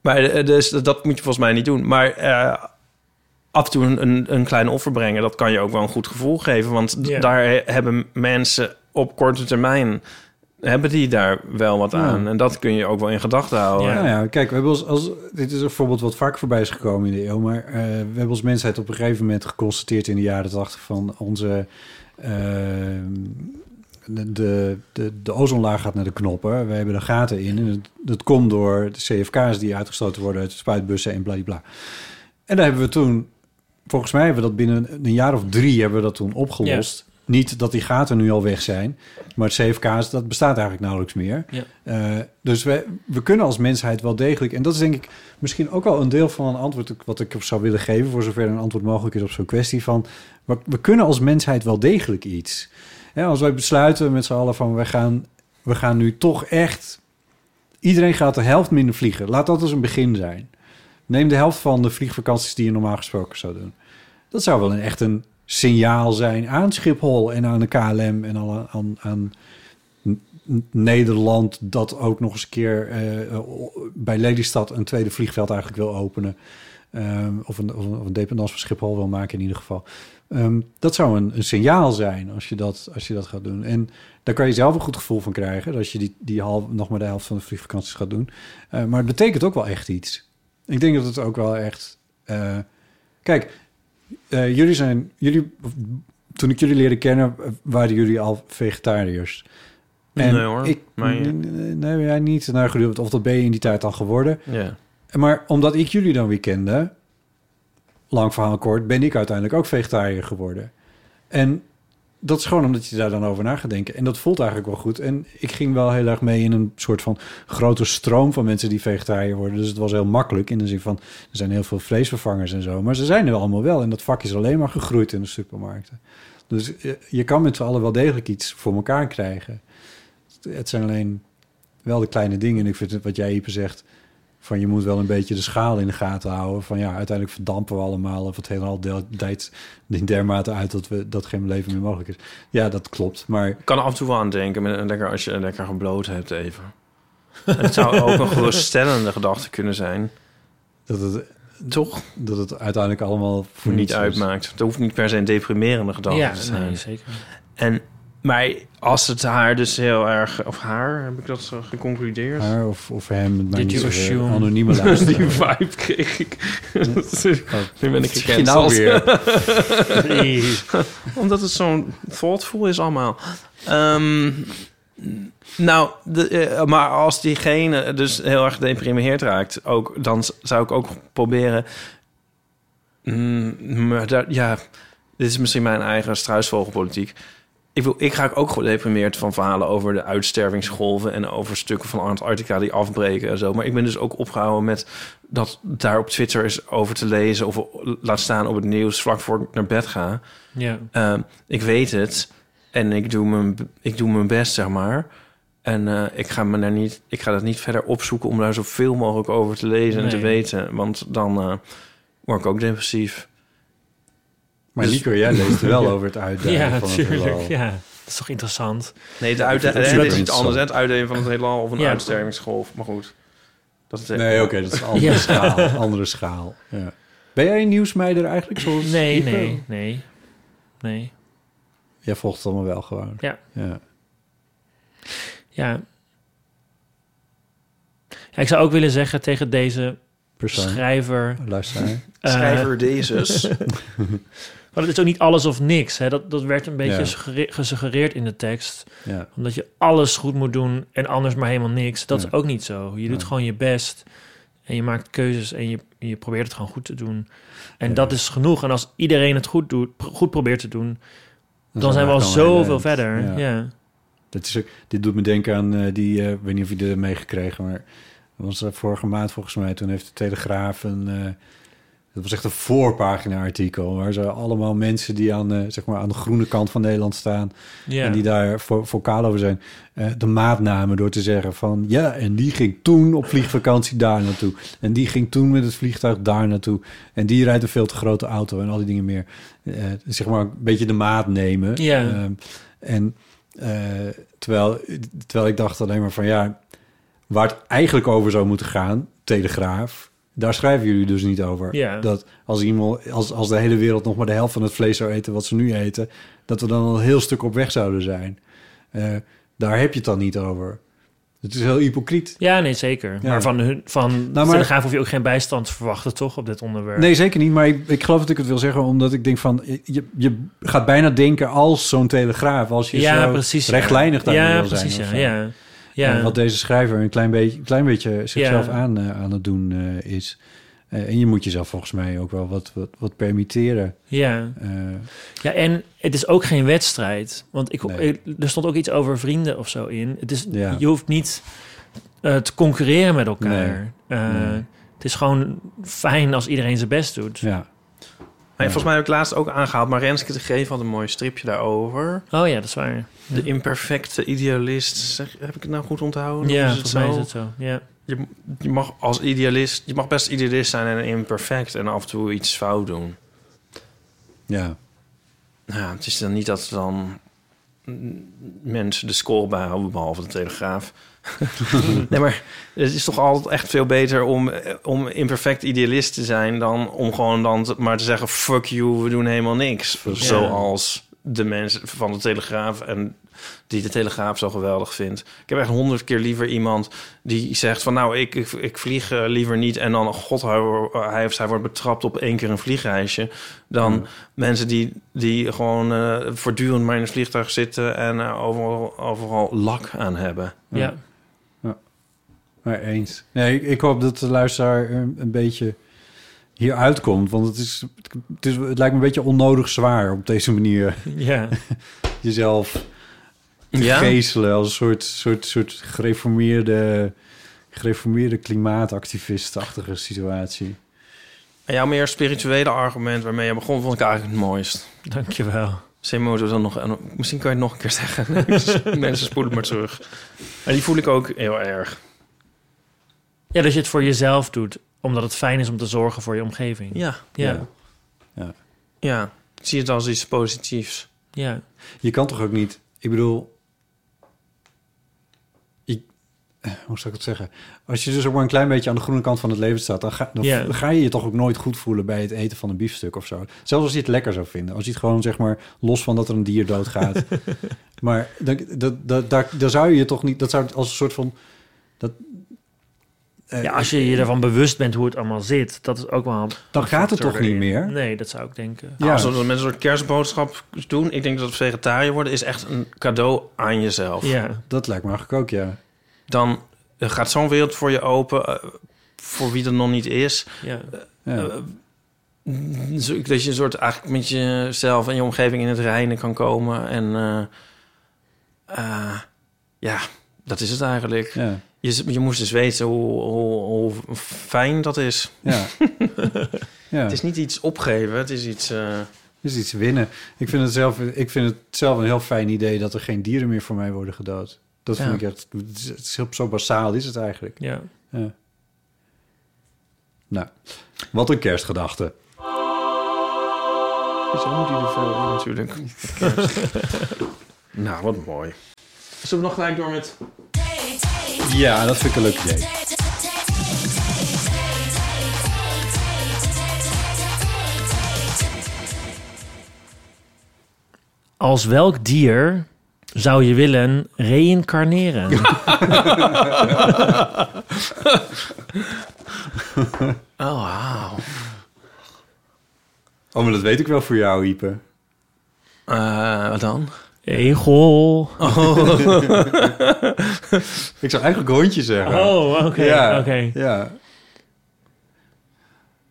Maar eh, dus dat moet je volgens mij niet doen. Maar eh, af en toe een- een, een klein offer brengen, dat kan je ook wel een goed gevoel geven. Want d-
Ja.
daar he- hebben mensen op korte termijn hebben die daar wel wat aan. En dat kun je ook wel in gedachten houden.
Ja.
Nou ja, kijk, we hebben ons als, dit is een voorbeeld wat vaak voorbij is gekomen in de eeuw, maar eh, we hebben als mensheid op een gegeven moment geconstateerd in de jaren 80 van onze. eh, de, de, de, de ozonlaag gaat naar de knoppen. We hebben er gaten in. En het- dat komt door de CFK's die uitgestoten worden uit spuitbussen en bladibla. En daar hebben we toen, volgens mij hebben we dat binnen een jaar of drie hebben we dat toen opgelost. Niet dat die gaten nu al weg zijn, maar het CFK's, dat bestaat eigenlijk nauwelijks meer.
Ja.
Eh, dus we, we kunnen als mensheid wel degelijk, en dat is denk ik misschien ook wel een deel van een antwoord wat ik op zou willen geven, voor zover een antwoord mogelijk is op zo'n kwestie van, we, we kunnen als mensheid wel degelijk iets. Hè, als wij besluiten met z'n allen van, we gaan, we gaan nu toch echt, iedereen gaat de helft minder vliegen. Laat dat als een begin zijn. Neem de helft van de vliegvakanties die je normaal gesproken zou doen. Dat zou wel een, echt een signaal zijn aan Schiphol en aan de KLM en aan, aan, aan N- N- Nederland... dat ook nog eens een keer eh, eh, bij Lelystad een tweede vliegveld eigenlijk wil openen. Ehm, of, een, of, een, of een dependance van Schiphol wil maken in ieder geval. Ehm, dat zou een, een signaal zijn als je, dat, als je dat gaat doen. En daar kan je zelf een goed gevoel van krijgen... als je die, die half, nog maar de helft van de vliegvakanties gaat doen. Eh, maar het betekent ook wel echt iets. Ik denk dat het ook wel echt. eh, kijk, eh, jullie zijn. Jullie, of, toen ik jullie leerde kennen, eh, waren jullie al vegetariërs.
Nee, hoor,
Ik,
maar ja.
nee, nee, jij niet. Nou, goed, of dat ben je in die tijd al geworden.
Ja.
Maar omdat ik jullie dan weer kende, lang verhaal kort, ben ik uiteindelijk ook vegetariër geworden. En dat is gewoon omdat je daar dan over na gaat denken. En dat voelt eigenlijk wel goed. En ik ging wel heel erg mee in een soort van grote stroom van mensen die vegetariër worden. Dus het was heel makkelijk in de zin van, er zijn heel veel vleesvervangers en zo. Maar ze zijn er allemaal wel. En dat vak is alleen maar gegroeid in de supermarkten. Dus eh, je kan met z'n allen wel degelijk iets voor elkaar krijgen. Het zijn alleen wel de kleine dingen. En ik vind het wat jij, Ieper, zegt van je moet wel een beetje de schaal in de gaten houden. Van ja, uiteindelijk verdampen we allemaal of het helemaal de- dijt in dermate uit dat we dat geen leven meer mogelijk is. Ja, dat klopt. Maar
Ik kan er af en toe wel aan denken, maar lekker als je lekker gebloot hebt even. (laughs) Het zou ook een geruststellende gedachte kunnen zijn.
dat het,
Toch?
dat het uiteindelijk allemaal voor
Voor niet
niets is.
uitmaakt. Dat hoeft niet per se een deprimerende gedachte
ja
te zijn.
nee, zeker.
En, maar als het haar dus heel erg... Of haar, heb ik dat zo geconcludeerd?
Haar of, of hem, het maakt
Did
niet
you
zoveel.
assume? (laughs)
anonieme
Die
luisteraar.
(laughs) vibe kreeg ik. (laughs) Nu ben ik
Zie Oh. je
gecanceld.
nou weer.
Omdat het zo'n thoughtful is allemaal. Ehm, nou, de, eh, maar als diegene dus heel erg gedeprimeerd raakt... Ook, dan z- zou ik ook proberen... Mm, maar daar, ja, dit is misschien mijn eigen struisvogelpolitiek. Ik, wil, ik raak ook gedeprimeerd van verhalen over de uitstervingsgolven... en over stukken van Antarctica die afbreken en zo. Maar ik ben dus ook opgehouden met dat daar op Twitter is over te lezen... of laat staan op het nieuws vlak voor ik naar bed ga...
Ja.
Eh, ik weet het en ik doe mijn, ik doe mijn best, zeg maar. En eh, ik, ga me daar niet, ik ga dat niet verder opzoeken om daar zoveel mogelijk over te lezen en te
Nee.
weten. Want dan eh, word ik ook depressief.
(laughs) Maar Nico, jij leest er wel over het uitdagen
Dus- (laughs) Ja,
van het
natuurlijk.
heelal.
Ja, dat is toch interessant.
Nee, de uitde-
vind het
eh, dit is iets
super
anders. hè, Het uitdelen van het heelal of een
Ja.
uitstervingsgolf. Maar goed. Dat is,
Nee, oké, dat is een andere
Ja.
schaal. Andere schaal. Ja. Ben jij een nieuwsmeider eigenlijk? Zoals
Nee,
Ipe?
nee, nee. Nee.
Jij volgt het allemaal wel gewoon.
Ja.
ja.
Ja. ja. Ik zou ook willen zeggen tegen deze
Persoon.
schrijver...
Luisteraar.
eh,
Schrijver (laughs) Dezes.
Maar het is ook niet alles of niks. Hè? Dat, dat werd een beetje
Ja.
suggere- gesuggereerd in de tekst.
Ja.
Omdat je alles goed moet doen en anders maar helemaal niks. Dat
Ja.
is ook niet zo. Je doet
Ja.
gewoon je best. En je maakt keuzes en je, je probeert het gewoon goed te doen. En dat is genoeg. En als iedereen het goed, doet, pro- goed probeert te doen, dan, zijn we al
eigenlijk al
zoveel
heel eind.
verder. Ja.
Ja. eh, Dat is ook, dit doet me denken aan eh, die, eh, ik weet niet of je dit hebt meegekregen, maar dat was eh, vorige maand volgens mij. Toen heeft de Telegraaf een, eh, dat was echt een voorpagina-artikel, waar ze allemaal mensen die aan, eh, zeg maar aan de groene kant van Nederland staan
Ja.
en die daar vo- vocaal over zijn, eh, de maat namen door te zeggen van ja, en die ging toen op vliegvakantie daar naartoe. En die ging toen met het vliegtuig daar naartoe. En die rijdt een veel te grote auto en al die dingen meer. Eh, zeg maar een beetje de maat nemen.
Ja.
Ehm, en eh, terwijl, terwijl ik dacht alleen maar van ja, waar het eigenlijk over zou moeten gaan, Telegraaf, daar schrijven jullie dus niet over.
Ja.
Dat als, iemand, als, als de hele wereld nog maar de helft van het vlees zou eten wat ze nu eten, dat we dan al een heel stuk op weg zouden zijn. Eh, daar heb je het dan niet over. Het is heel hypocriet.
Ja, nee, zeker.
Ja. Nou,
Maar van, hun, van
maar-
de Telegraaf hoef je ook geen bijstand te verwachten, toch, op dit onderwerp?
Nee, zeker niet. Maar ik, ik geloof dat ik het wil zeggen, omdat ik denk van... eh, Je, je gaat bijna denken als zo'n telegraaf. Als je
ja,
zo
precies. ja.
rechtlijnig daarin
Ja,
wil zijn.
precies.
of
Ja,
zo.
ja.
Ja.
ja.
wat deze schrijver een klein beetje, een klein beetje zichzelf
Ja.
aan, eh, aan het doen eh, is. Eh, en je moet jezelf volgens mij ook wel wat, wat, wat permitteren.
ja.
Eh,
Ja, en het is ook geen wedstrijd. Want ik, eh,
Nee.
er stond ook iets over vrienden of zo in. Het is,
Ja.
Je hoeft niet eh, te concurreren met elkaar. Eh,
Nee.
Het is gewoon fijn als iedereen zijn best doet.
ja.
Maar volgens mij heb ik laatst ook aangehaald. Maar Renske de Geef had een mooi stripje daarover.
Oh ja, dat is waar.
De imperfecte idealist. Zeg, heb ik het nou goed onthouden? Of
ja,
is het
volgens mij
zo?
is het zo. Ja.
Je, je mag als idealist, je mag best idealist zijn en imperfect en af en toe iets fout doen.
ja.
Ja, het is dan niet dat dan mm, mensen de score bijhouden, behalve de Telegraaf. (laughs) nee, maar het is toch altijd echt veel beter om, eh, om imperfect idealist te zijn... dan om gewoon dan te- maar te zeggen, fuck you, we doen helemaal niks. Zoals de mensen van de Telegraaf en die de Telegraaf zo geweldig vindt. Ik heb echt honderd keer liever iemand die zegt van... nou, ik, ik, ik vlieg eh, liever niet en dan, oh god, hij, wo- hij of zij wordt betrapt op één keer een vliegreisje... dan mensen die, die gewoon eh, voortdurend maar in het vliegtuig zitten... en eh, overal, overal lak aan hebben.
Ja.
Ja. Maar eens. Nee, ik, ik hoop dat de luisteraar een, een beetje hieruit komt. Want het, is, het, is, het lijkt me een beetje onnodig zwaar op deze manier
Ja.
jezelf te
Ja?
geestelen als een soort, soort, soort gereformeerde, gereformeerde klimaatactivistachtige situatie.
En jouw meer spirituele argument waarmee je begon... vond ik eigenlijk het mooist.
Dankjewel.
Semoto dan nog... en Misschien kan je het nog een keer zeggen. (laughs) Mensen spoelen maar terug. En die voel ik ook heel erg.
Ja, dat je het voor jezelf doet, omdat het fijn is om te zorgen voor je omgeving.
Ja,
Ja.
Ja.
ja. Ik zie het als iets positiefs.
ja.
Je kan toch ook niet... Ik bedoel... Ik, eh, hoe zou ik het zeggen? Als je dus ook maar een klein beetje aan de groene kant van het leven staat... dan ga, dan
Ja.
v- ga je je toch ook nooit goed voelen bij het eten van een biefstuk of zo. Zelfs als je het lekker zou vinden. Als je het gewoon, zeg maar, los van dat er een dier doodgaat. maar dan, dat, dat, daar, daar zou je je toch niet... Dat zou als een soort van... Dat, eh,
Ja, als je je ervan bewust bent hoe het allemaal zit, dat is ook wel...
dan gaat het toch niet meer?
Nee, dat zou ik denken.
Ja.
Als we dat met een soort kerstboodschap doen... ik denk dat vegetariër worden is echt een cadeau aan jezelf.
Ja.
Dat lijkt me eigenlijk ook, ja.
Dan eh, gaat zo'n wereld voor je open... eh, voor wie er nog niet is.
ja.
ja.
Eh, zo- dat je een soort eigenlijk met jezelf en je omgeving in het reinen kan komen. En eh, eh, ja, dat is het eigenlijk.
ja.
Je, z- je moest dus weten hoe, hoe, hoe fijn dat is.
Ja. ja.
Het is
Het
niet iets opgeven, het is iets... eh,
is iets winnen. Ik vind, het zelf, ik vind het zelf een heel fijn idee dat er geen dieren meer voor mij worden gedood. Dat
Ja.
vind ik echt... Het is, het is heel- zo basaal is het eigenlijk.
ja.
Ja. Nou, wat een kerstgedachte.
zo Dus moet hij er veel in (laughs) natuurlijk. nou, wat mooi. Zullen we nog gelijk door met...
Ja, dat vind ik een leuk idee.
Take, take, take, take, take, take, take, take, take, take, take, take, take,
Als welk dier zou je willen reïncarneren?
Oh, wow.
Oh, maar dat weet ik wel voor jou, Ipe.
Eh, wat dan?
Egel.
Ik zou eigenlijk hondje zeggen.
Oh, oké.
ja.
oké.
Ja.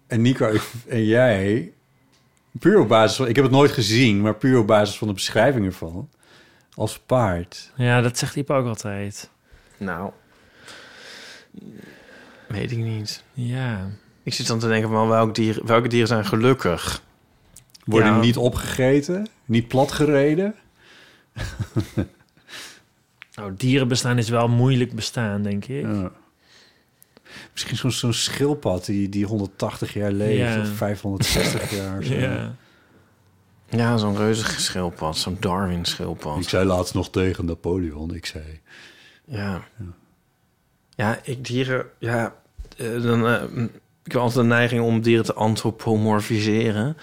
En Nico ik- en jij, puur op basis van... Ik heb het nooit gezien, maar puur op basis van de beschrijving ervan. Als paard.
Ja, dat zegt Iep ook altijd.
Nou. Weet ik niet.
Ja.
Ik zit dan te denken van welk dier, welke dieren zijn gelukkig?
Worden
Ja.
niet opgegeten, niet platgereden.
Nou, dierenbestaan is wel moeilijk bestaan, denk ik.
Ja. Misschien zo'n zo'n schildpad die, die 180 jaar leeft
Ja.
of 560 jaar. Zo.
Ja.
Ja, zo'n reuzige schildpad, zo'n Darwin schildpad.
Ik zei laatst nog tegen Napoleon, ik zei...
Ja. Ja, ik dieren... Ja, eh, dan, eh, ik heb altijd de neiging om dieren te antropomorfiseren.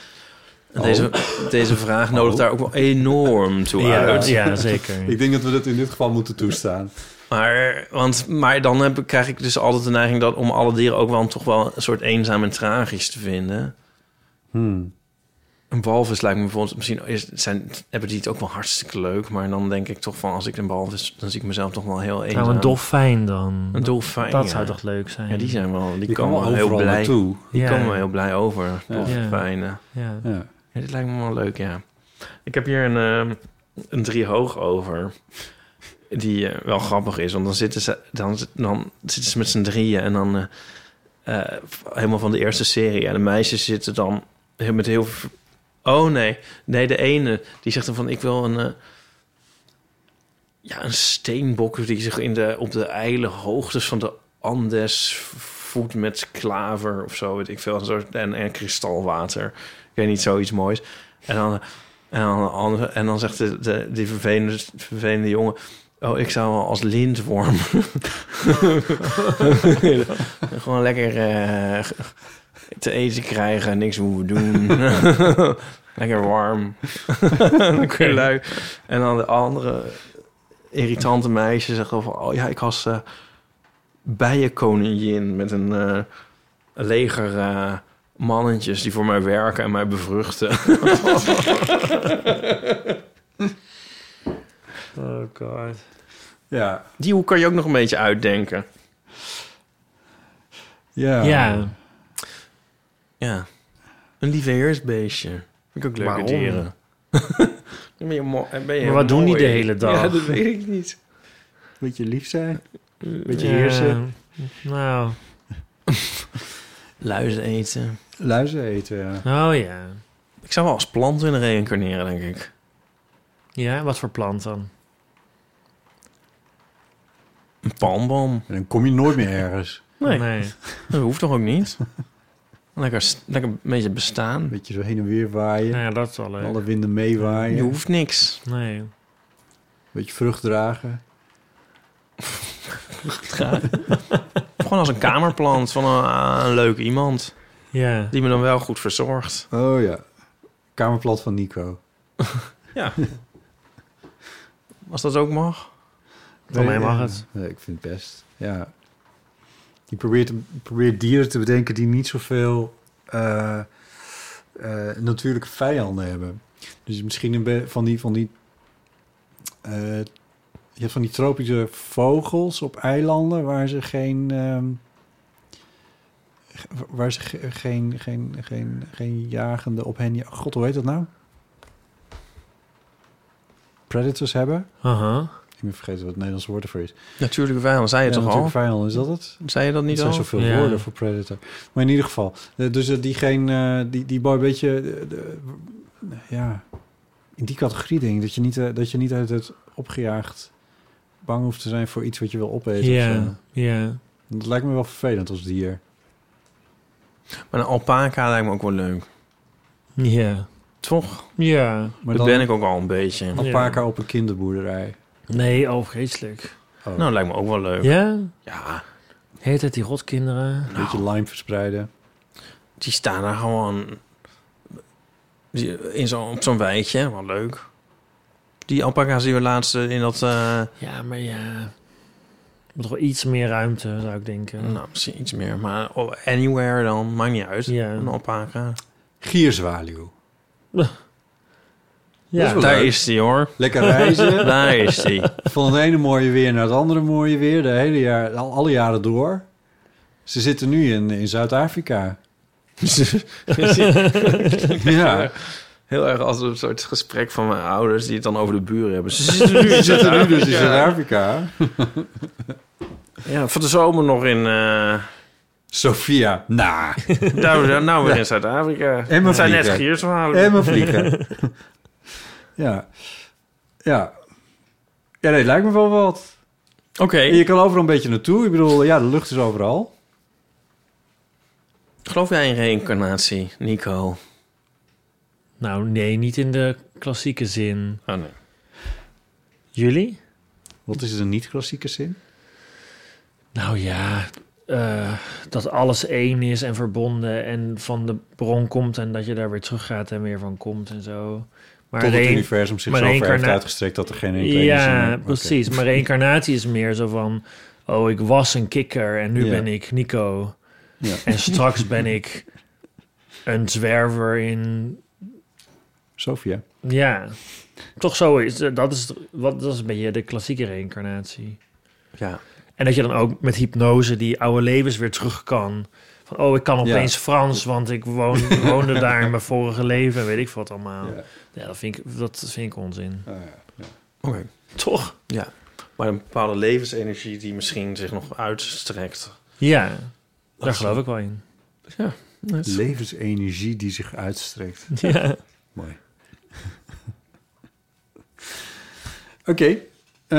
En Deze, deze vraag nodigt daar ook wel enorm toe
Ja,
uit.
ja, zeker.
Ik denk dat we dat in dit geval moeten toestaan.
Maar, want, maar dan heb, ik- krijg ik dus altijd de neiging dat om alle dieren ook wel toch wel een soort eenzaam en tragisch te vinden.
Hmm.
Een walvis lijkt me bijvoorbeeld, misschien is, zijn, hebben die het ook wel hartstikke leuk, maar dan denk ik toch van als ik een walvis, dan zie ik mezelf toch wel heel eenzaam.
Nou, een dolfijn dan.
Een dolfijn.
Dat
ja.
zou toch leuk zijn?
Ja, die zijn wel, die,
Die
komen
komen
wel heel
overal
blij.
naartoe.
Die
Ja.
komen wel heel blij over. Dolfijnen.
Ja.
Ja.
Ja, dit lijkt me wel leuk, ja. Ik heb hier een, ehm, een driehoog over. Die eh, wel grappig is, want dan zitten ze, dan, dan zitten ze met z'n drieën en dan eh, eh, helemaal van de eerste serie. En de meisjes zitten dan heel- met heel. v- Oh nee, nee, de ene die zegt dan van ik wil een. eh, ja, een steenbok die zich in de, op de eile hoogtes van de Andes voedt met klaver of zo, weet ik veel. Een soort, en, en kristalwater. Ik weet niet, zoiets moois. En dan, en dan, de andere- en dan zegt de, de, die vervelende, vervelende jongen... Oh, ik zou wel als lintworm. (laughs) Gewoon lekker eh, te eten krijgen, niks hoeven doen. (laughs) lekker warm. (laughs) lekker lui. En dan de andere irritante meisje zegt over... Oh ja, ik was eh bijenkoningin met een eh, leger... eh, mannetjes die voor mij werken en mij bevruchten. (laughs)
Oh god.
Ja.
Die hoe kan je ook nog een beetje uitdenken.
Ja.
Ja.
Ja. Een lieveheersbeestje. Vind ik ook leuke
Waarom?
dieren. (laughs) Dan ben je mo- dan ben je
Maar wat doen die
mooi.
de hele dag?
Ja, dat weet ik niet.
Moet je lief zijn?
Beetje
Ja.
heersen.
Nou.
Luizen eten.
Luizen eten, ja.
Oh ja.
Ik zou wel als plant willen reïncarneren, denk ik.
Ja, wat voor plant dan?
Een palmboom.
En dan kom je nooit meer ergens.
Nee, dat hoeft toch ook niet? (laughs) Lekker, s- lekker een beetje
Een
bestaan.
beetje zo heen en weer waaien.
Nou ja, dat is wel leuk.
Alle winden meewaaien.
Je
Een
hoeft niks.
Nee.
beetje vrucht dragen.
Gewoon als een kamerplant van een, een leuk iemand.
Ja.
Die me dan wel goed verzorgt.
Oh ja. Kamerplat van Nico.
Ja. Als dat ook mag.
Van mij
Nee,
mag
ja.
het.
Nee, ik vind het best. Ja. Je probeert, probeert dieren te bedenken die niet zoveel eh, eh, natuurlijke vijanden hebben. Dus misschien een be- van die, van die eh, je hebt van die tropische vogels op eilanden waar ze geen ehm, ge- waar ze ge- geen, geen, geen, geen jagende op hen. ja- God, hoe heet dat nou? Predators hebben.
Aha.
Ik ben vergeten wat het Nederlandse woord ervoor is.
Natuurlijke vijand, zei je
Ja,
toch al?
natuurlijk vijanden, is dat het?
Zei je dat
Niet
niet
zijn
al?
zoveel
Ja.
woorden voor predator. Maar in ieder geval, eh, dus eh, die geen, eh, die, die boy een beetje, eh, de- eh, ja, in die categorie denk ik dat je niet, eh, dat je niet uit het opgejaagd bang hoeft te zijn voor iets wat je wil opeten. of zo.
Ja.
eh,
Ja.
Dat lijkt me wel vervelend als dier.
Maar een alpaca lijkt me ook wel leuk.
Ja.
Toch?
Ja.
Maar
dat
dan
ben ik ook al een beetje. Nou,
een alpaca op een kinderboerderij.
Nee, oh, vreselijk.
Oh,
Nou, dat lijkt me ook wel leuk. Ja.
Ja? Heet het die rotkinderen?
Een beetje lime verspreiden.
Die staan daar gewoon die- in zo, op zo'n wijtje. Wel leuk. Die alpaca's die we laatst eh, in dat... eh,
Ja, maar ja. er moet toch wel iets meer ruimte, zou ik denken.
nou, misschien iets meer, maar oh, anywhere dan. Maakt niet uit.
Ja.
Een alpaca.
Gierzwaluw.
ja,
wel-
Daar
leuk.
is die hoor. (laughs)
Lekker reizen.
Daar is (laughs) die.
van het ene mooie weer naar het andere mooie weer. De hele jaar, al, alle jaren door. Ze zitten nu in, in Zuid-Afrika. ja,
Heel erg als een soort gesprek van mijn ouders die het dan over de buren hebben. Ze zitten (laughs) nu, ze
zitten nu dus in Zuid-Afrika.
Ja, van de zomer nog in... (laughs) eh,
Sofia. Nou,
Nou, we- nou weer in Zuid-Afrika.
En we
Het zijn net
vliegen.
giersverhalen.
en we vliegen. ja. Ja. Ja, nee, het lijkt me wel wat.
Oké.
En je kan overal een beetje naartoe. Ik bedoel, ja, de lucht is overal.
Geloof jij in reïncarnatie, Nico?
Nou, nee, niet in de klassieke zin.
Oh nee.
Jullie?
Wat is het een niet-klassieke zin?
Nou ja, eh, dat alles één is en verbonden en van de bron komt en dat je daar weer terug gaat en weer van komt en zo. Maar
Tot het
reïn-
universum zich
maar
zo ver heeft
reïncarna-
uitgestrekt dat er geen enkele ene
Ja,
zin-
precies. Maar reïncarnatie is meer zo van... Oh, ik was een kikker en nu
Ja.
ben ik Nico.
Ja.
En straks ben ik een zwerver in...
Oké. Sofia.
Ja, toch zo is dat. Is, wat, dat is een beetje de klassieke reïncarnatie.
Ja.
En dat je dan ook met hypnose die oude levens weer terug kan. Van, oh, ik kan opeens Frans, want ik woon, woonde daar in mijn vorige leven. en Weet ik wat allemaal. Ja,
Ja.
dat, vind ik, dat vind ik onzin.
Ah, ja.
Oké.
Toch?
Ja. Maar een bepaalde levensenergie die misschien zich nog uitstrekt.
Ja, daar geloof ik wel in.
Levensenergie die zich (laughs) uitstrekt.
Ja.
Mooi. (laughs) Oké. eh,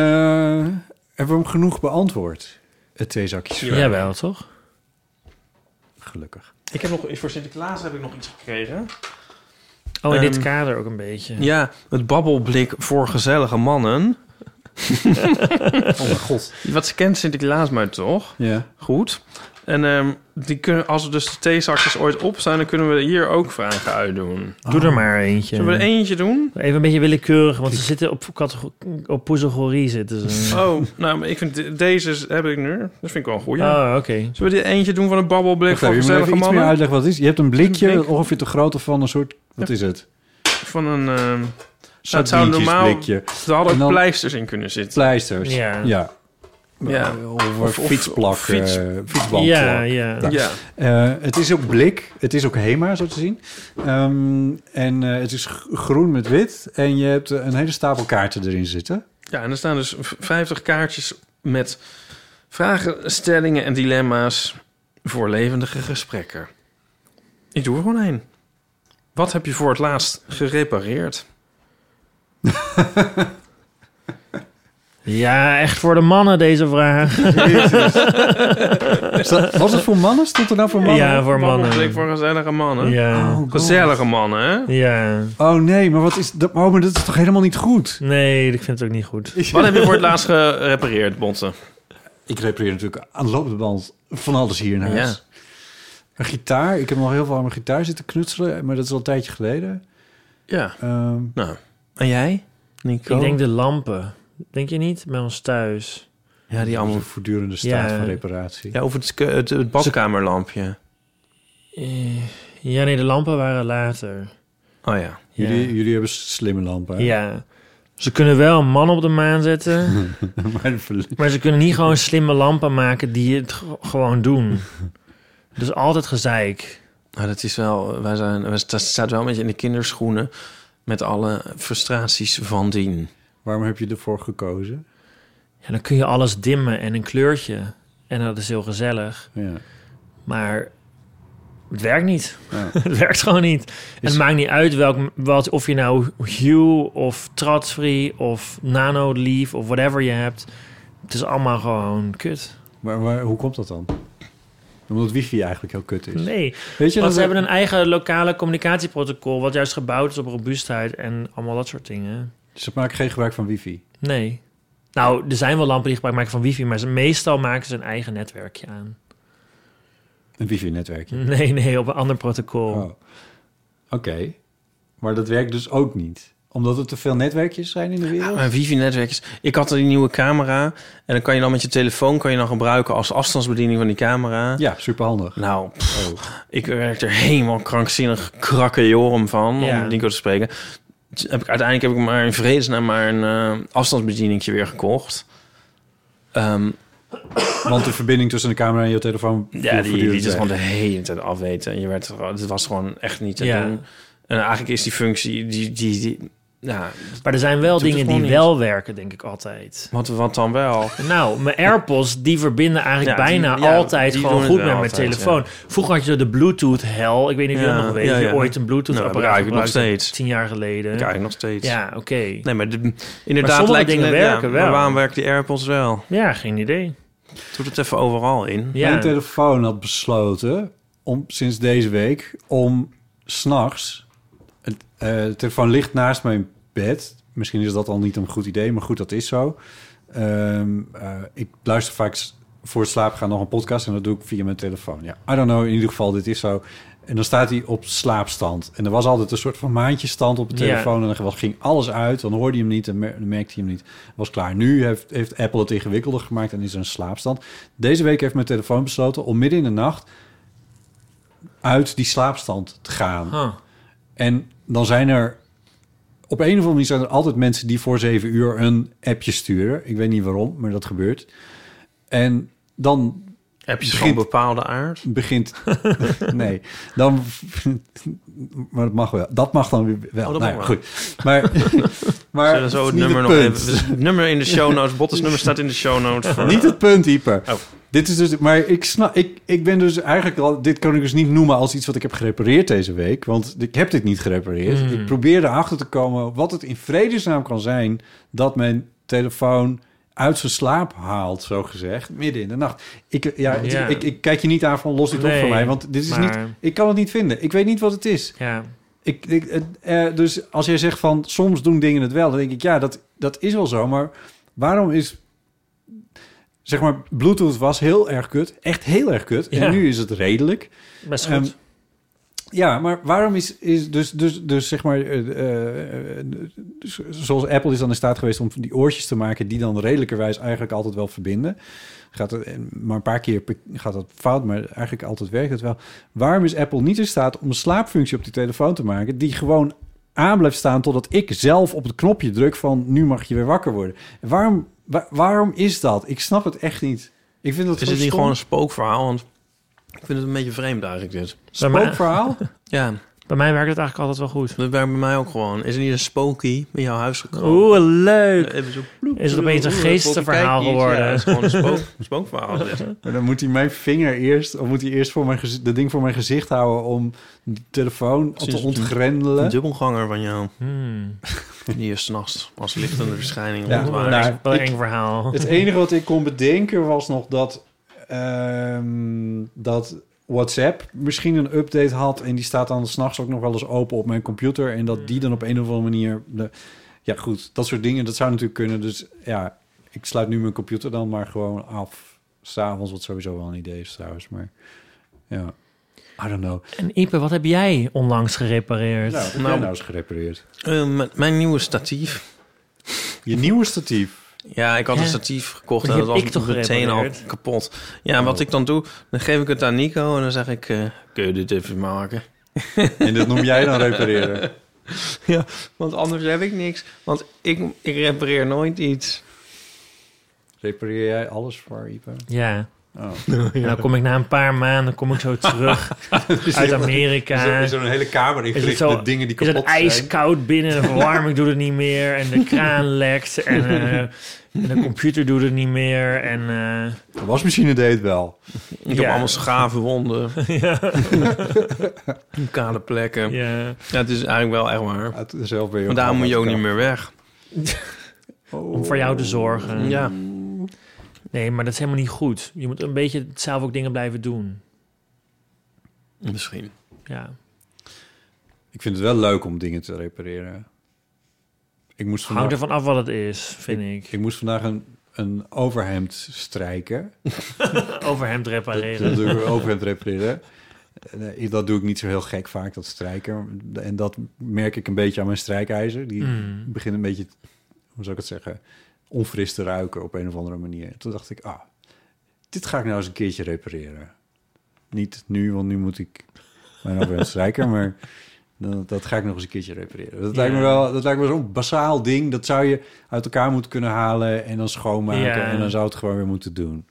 hebben we hem genoeg beantwoord? Het theezakje.
Ja, wel toch?
Gelukkig.
Ik heb nog, voor Sinterklaas heb ik nog iets gekregen.
Oh, in dit
Ehm,
kader ook een beetje.
Ja, het babbelblik voor gezellige (laughs) mannen.
Oh mijn god.
Wat kent Sinterklaas maar toch?
Ja.
Goed. En ehm, die kunnen, als er dus de theezakjes ooit op zijn, dan kunnen we hier ook vragen uitdoen.
Doe er maar eentje.
Zullen we er eentje doen?
Even een beetje willekeurig, want ze zitten op, catego- op poezelgorie zitten ze.
Oh, nou, maar ik vind de- deze is- heb ik nu. Dat vind ik wel een goeie.
Oh, oké.
Zullen we er eentje doen van een babbelblik
Ah. Wacht even,
voor
je
gezellige
moet even iets meer
mannen?
uitleggen wat het is. Je hebt een blikje,
Een blik.
ongeveer de grootte van een soort... Wat is het?
Van een... ehm zou normaal-
Sardientjesblikje.
er hadden
En
ook
dan-
pleisters in kunnen zitten.
Pleisters.
Ja.
ja.
Ja.
Of,
Of- of-
fietsplak.
of fiets-
eh, fietsbandplak.
Ja, ja.
Ja.
Ja.
Eh, het is ook blik. Het is ook HEMA, zo te zien. Ehm, en eh, het is g- groen met wit. En je hebt eh, een hele stapel kaarten erin zitten.
ja, en er staan dus v- 50 kaartjes met vragen, stellingen en dilemma's voor levendige gesprekken. Ik doe er gewoon één. Wat heb je voor het laatst gerepareerd?
Ja, echt voor de mannen deze vraag.
Was het voor mannen? Stond er nou voor mannen?
Ja, voor
Babbelblik
mannen.
voor gezellige mannen.
Ja.
Oh, God.
Gezellige mannen, hè?
Ja.
Oh nee, maar wat is dat? Oh, maar dat is toch helemaal niet goed?
Nee, ik vind het ook niet goed.
Wat heb je voor het laatst gerepareerd, Bonte?
Ik repareer natuurlijk aan de lopende band van alles hier in huis.
Ja.
Een gitaar. Ik heb nog heel veel aan mijn gitaar zitten knutselen. Maar dat is al een tijdje geleden.
Ja.
Ehm,
Nou, en jij, Nico?
Ik denk de lampen. Denk je niet? Bij ons thuis.
ja, die
een
allemaal...
voortdurende staat
Ja.
van reparatie.
Ja, of het, ke- het, het badkamerlampje.
Eh, Ja, nee, de lampen waren later.
Oh ja.
Ja.
Jullie, jullie hebben slimme lampen. hè?
Ja. Ze kunnen wel een man op de maan
(laughs)
zetten,
(laughs) Maar de verle-
maar ze kunnen niet gewoon slimme lampen maken die het g- gewoon doen. Dus altijd gezeik.
Nou, dat is wel... Wij zijn... We sta- staat wel een beetje in de kinderschoenen... met alle frustraties van dien.
Waarom heb je ervoor gekozen?
Ja, dan kun je alles dimmen en een kleurtje. En dat is heel gezellig.
Ja.
Maar het werkt niet. (laughs)
Ja.
het werkt gewoon niet. En het maakt niet uit welk, wat, of je nou Hue of Tradsfree of Nano Leaf of whatever je hebt. Het is allemaal gewoon kut.
Maar, maar hoe komt dat dan? Omdat het wifi eigenlijk heel kut is.
Nee.
Weet je,
Want
dat
ze hebben een eigen lokale communicatieprotocol... wat juist gebouwd is op robuustheid en allemaal dat soort dingen.
ze maken geen gebruik van wifi.
Nee. Nou, er zijn wel lampen die gebruik maken van wifi... maar ze, meestal maken ze een eigen netwerkje aan. (laughs)
Een wifi-netwerkje.
Nee, nee, op een ander protocol.
Oh. Oké. Maar dat werkt dus ook niet. Omdat er te veel netwerkjes zijn in de wereld?
Mijn wifi-netwerkjes. Ik had die nieuwe camera. En dan kan je dan met je telefoon kan je dan gebruiken als afstandsbediening van die camera.
Ja, superhandig.
Nou, pff,
Oh.
ik werk er helemaal krankzinnig krakkejorum van,
Ja.
om het Nico te spreken. Dus Heb ik, uiteindelijk heb ik maar in vredesnaam maar een eh afstandsbedieningje weer gekocht. Ehm,
Want de verbinding tussen de camera en je telefoon...
ja,
viel
die, die
voortdurend
is
weg.
gewoon de hele tijd afweten. En je werd, er- het was gewoon echt niet te
Ja.
doen. En eigenlijk is die functie, die, die, die ja,
Maar er zijn wel
Doet het
dingen die
gewoon niet.
wel werken, denk ik altijd.
wat, wat dan wel?
Nou, mijn AirPods die verbinden eigenlijk
Ja, die-
bijna
ja,
altijd
die
gewoon
doen het
goed met
wel
mijn
altijd,
telefoon. Vroeger had je de Bluetooth hel. Ik weet niet of je
Ja,
dat nog weet.
ja,
dat je
ja.
ooit een Bluetooth
Nou, dat
apparaat
gebruik ik nog
gebruikte.
steeds.
Tien jaar geleden.
Ik eigenlijk nog steeds.
Ja, oké.
Nee, maar de, inderdaad
sommige
lijkt het
dingen
net- ja,
werken
maar
wel.
waarom werken die AirPods wel?
Ja, geen idee.
Doet het even overal in.
Ja.
Mijn telefoon had besloten om sinds deze week om s'nachts. de telefoon ligt naast mijn bed. Misschien is dat al niet een goed idee, maar goed, dat is zo. Ehm, eh, ik luister vaak s- voor het slaapgaan nog een podcast en dat doe ik via mijn telefoon. Ja, I don't know, in ieder geval, dit is zo. En dan staat hij op slaapstand. En er was altijd een soort van maandjesstand op de
Ja.
telefoon. En dan was- ging alles uit. Dan hoorde je hem niet en mer- dan merkte hij hem niet. Was klaar. Nu heeft, heeft Apple het ingewikkelder gemaakt en is er een slaapstand. Deze week heeft mijn telefoon besloten om midden in de nacht uit die slaapstand te gaan.
Huh.
En dan zijn er op een of andere manier zijn er altijd mensen die voor zeven uur een appje sturen. Ik weet niet waarom, maar dat gebeurt. En dan
Heb je
Begint-
van bepaalde aard? (laughs)
begint. nee, dan. maar dat mag wel. Dat mag dan weer wel.
Oh, dat
nou,
mag
ja,
wel.
goed.
(laughs)
Maar. maar
Zullen we zo
is
het
niet
nummer nog
punt.
even. dus het nummer in de show notes. Bottes nummer staat in de show notes. Voor,
(laughs) Niet het punt, Ieper.
Oh.
Dit is dus, maar ik snap, ik, ik ben dus eigenlijk al, dit kan ik dus niet noemen als iets wat ik heb gerepareerd deze week, want ik heb dit niet gerepareerd.
Mm.
Ik probeer erachter te komen wat het in vredesnaam kan zijn dat mijn telefoon uit zijn slaap haalt, zo gezegd, midden in de nacht. Ik, ja, het-
Ja.
Ik, ik kijk je niet aan van los dit op
Nee,
voor mij, want dit is
maar-
niet, ik kan het niet vinden. Ik weet niet wat het is.
Ja.
Ik, ik, het, eh, dus als jij zegt van soms doen dingen het wel, dan denk ik ja, dat, dat is wel zo. Maar waarom is. Zeg maar, Bluetooth was heel erg kut. Echt heel erg kut.
Ja.
En nu is het redelijk.
Best goed.
Ehm, ja, maar waarom is, is dus, dus, dus zeg maar, eh, eh, eh, dus zoals Apple is dan in staat geweest om die oortjes te maken die dan redelijkerwijs eigenlijk altijd wel verbinden. Gaat het, eh, maar een paar keer per- gaat dat fout, maar eigenlijk altijd werkt het wel. Waarom is Apple niet in staat om een slaapfunctie op die telefoon te maken die gewoon aan blijft staan totdat ik zelf op het knopje druk van nu mag je weer wakker worden? En waarom, wa- waarom is dat? Ik snap het echt niet. Ik vind dat
is het niet
stom.
gewoon een spookverhaal? Want ik vind het een beetje vreemd eigenlijk dit.
bij, mij,
spookverhaal?
Ja,
bij mij werkt het eigenlijk altijd wel goed.
dat werkt bij mij ook gewoon. Is er niet een spooky in jouw huis gekomen? Eh,
Oeh, leuk.
Even zo,
Is het opeens een geestenverhaal
Kijk niet, Ja,
geworden?
het is gewoon een spook,
(laughs)
spookverhaal. zeg.
Maar dan moet hij mijn vinger eerst, of moet hij eerst voor mijn gezi- dat ding voor mijn gezicht houden om de telefoon te
Precies.
ontgrendelen.
Een dubbelganger van jou.
Hmm.
Die is s'nachts als lichtende verschijning.
Ja,
Ja,
nou,
Wel een
ik-
eng verhaal.
Het enige wat ik kon bedenken was nog dat, ehm, dat WhatsApp misschien een update had. En die staat dan s'nachts ook nog wel eens open op mijn computer. En dat die dan op een of andere manier. De, ja, goed, dat soort dingen, dat zou natuurlijk kunnen. Dus ja, ik sluit nu mijn computer dan maar gewoon af. S'avonds, wat sowieso wel een idee is trouwens. Maar ja, I don't know.
En Ipe, wat heb jij onlangs gerepareerd?
Nou, dat heb
Nou,
jij nou eens gerepareerd.
Eh, mijn nieuwe statief.
Je nieuwe statief.
Ja, ik had
Ja.
een statief gekocht
Maar
en
die
dat
heb
was
ik toch
meteen al
gerepareerd?
kapot. Ja, wat ik dan doe, dan geef ik het aan Nico en dan zeg ik... eh, kun je dit even maken?
En dat noem jij dan repareren.
Want anders heb ik niks. Want ik, ik repareer nooit iets.
Repareer jij alles voor Ipe?
Ja.
Oh.
En dan kom ik na een paar maanden kom ik zo terug uit Amerika.
er een hele kamer
Is het zo- is het ijskoud binnen, de verwarming doet het niet meer en de kraan lekt en, eh, en de computer doet het niet meer. En, eh,
De wasmachine deed het wel.
Ik
Ja.
heb allemaal schave wonden.
(laughs) ja,
(laughs) Kale plekken. Ja.
ja.
het is eigenlijk wel echt waar.
Uit- Zelf ben je
Maar daarom moet je ook niet meer weg.
Oh.
Om voor jou te zorgen.
Ja.
Nee, maar dat is helemaal niet goed. Je moet een beetje zelf ook dingen blijven doen.
Misschien.
Ja.
Ik vind het wel leuk om dingen te repareren. Ik moest
Hangt
vandaag,
ervan af wat het is, vind ik.
ik moest vandaag een, een overhemd strijken.
Overhemd
Dat
repareren. (laughs)
doe ik een overhemd repareren. Eh, dat doe ik niet zo heel gek vaak, dat strijken. En dat merk ik een beetje aan mijn strijkijzer. Die
Mm.
begint een beetje, hoe zou ik het zeggen, onfris te ruiken op een of andere manier. Toen dacht ik, ah, dit ga ik nou eens een keertje repareren. Niet nu, want nu moet ik mijn over strijken, maar dat, dat ga ik nog eens een keertje repareren. Dat
Ja.
lijkt me wel, dat lijkt me zo'n basaal ding. Dat zou je uit elkaar moeten kunnen halen en dan schoonmaken.
Ja.
En dan zou het gewoon weer moeten doen.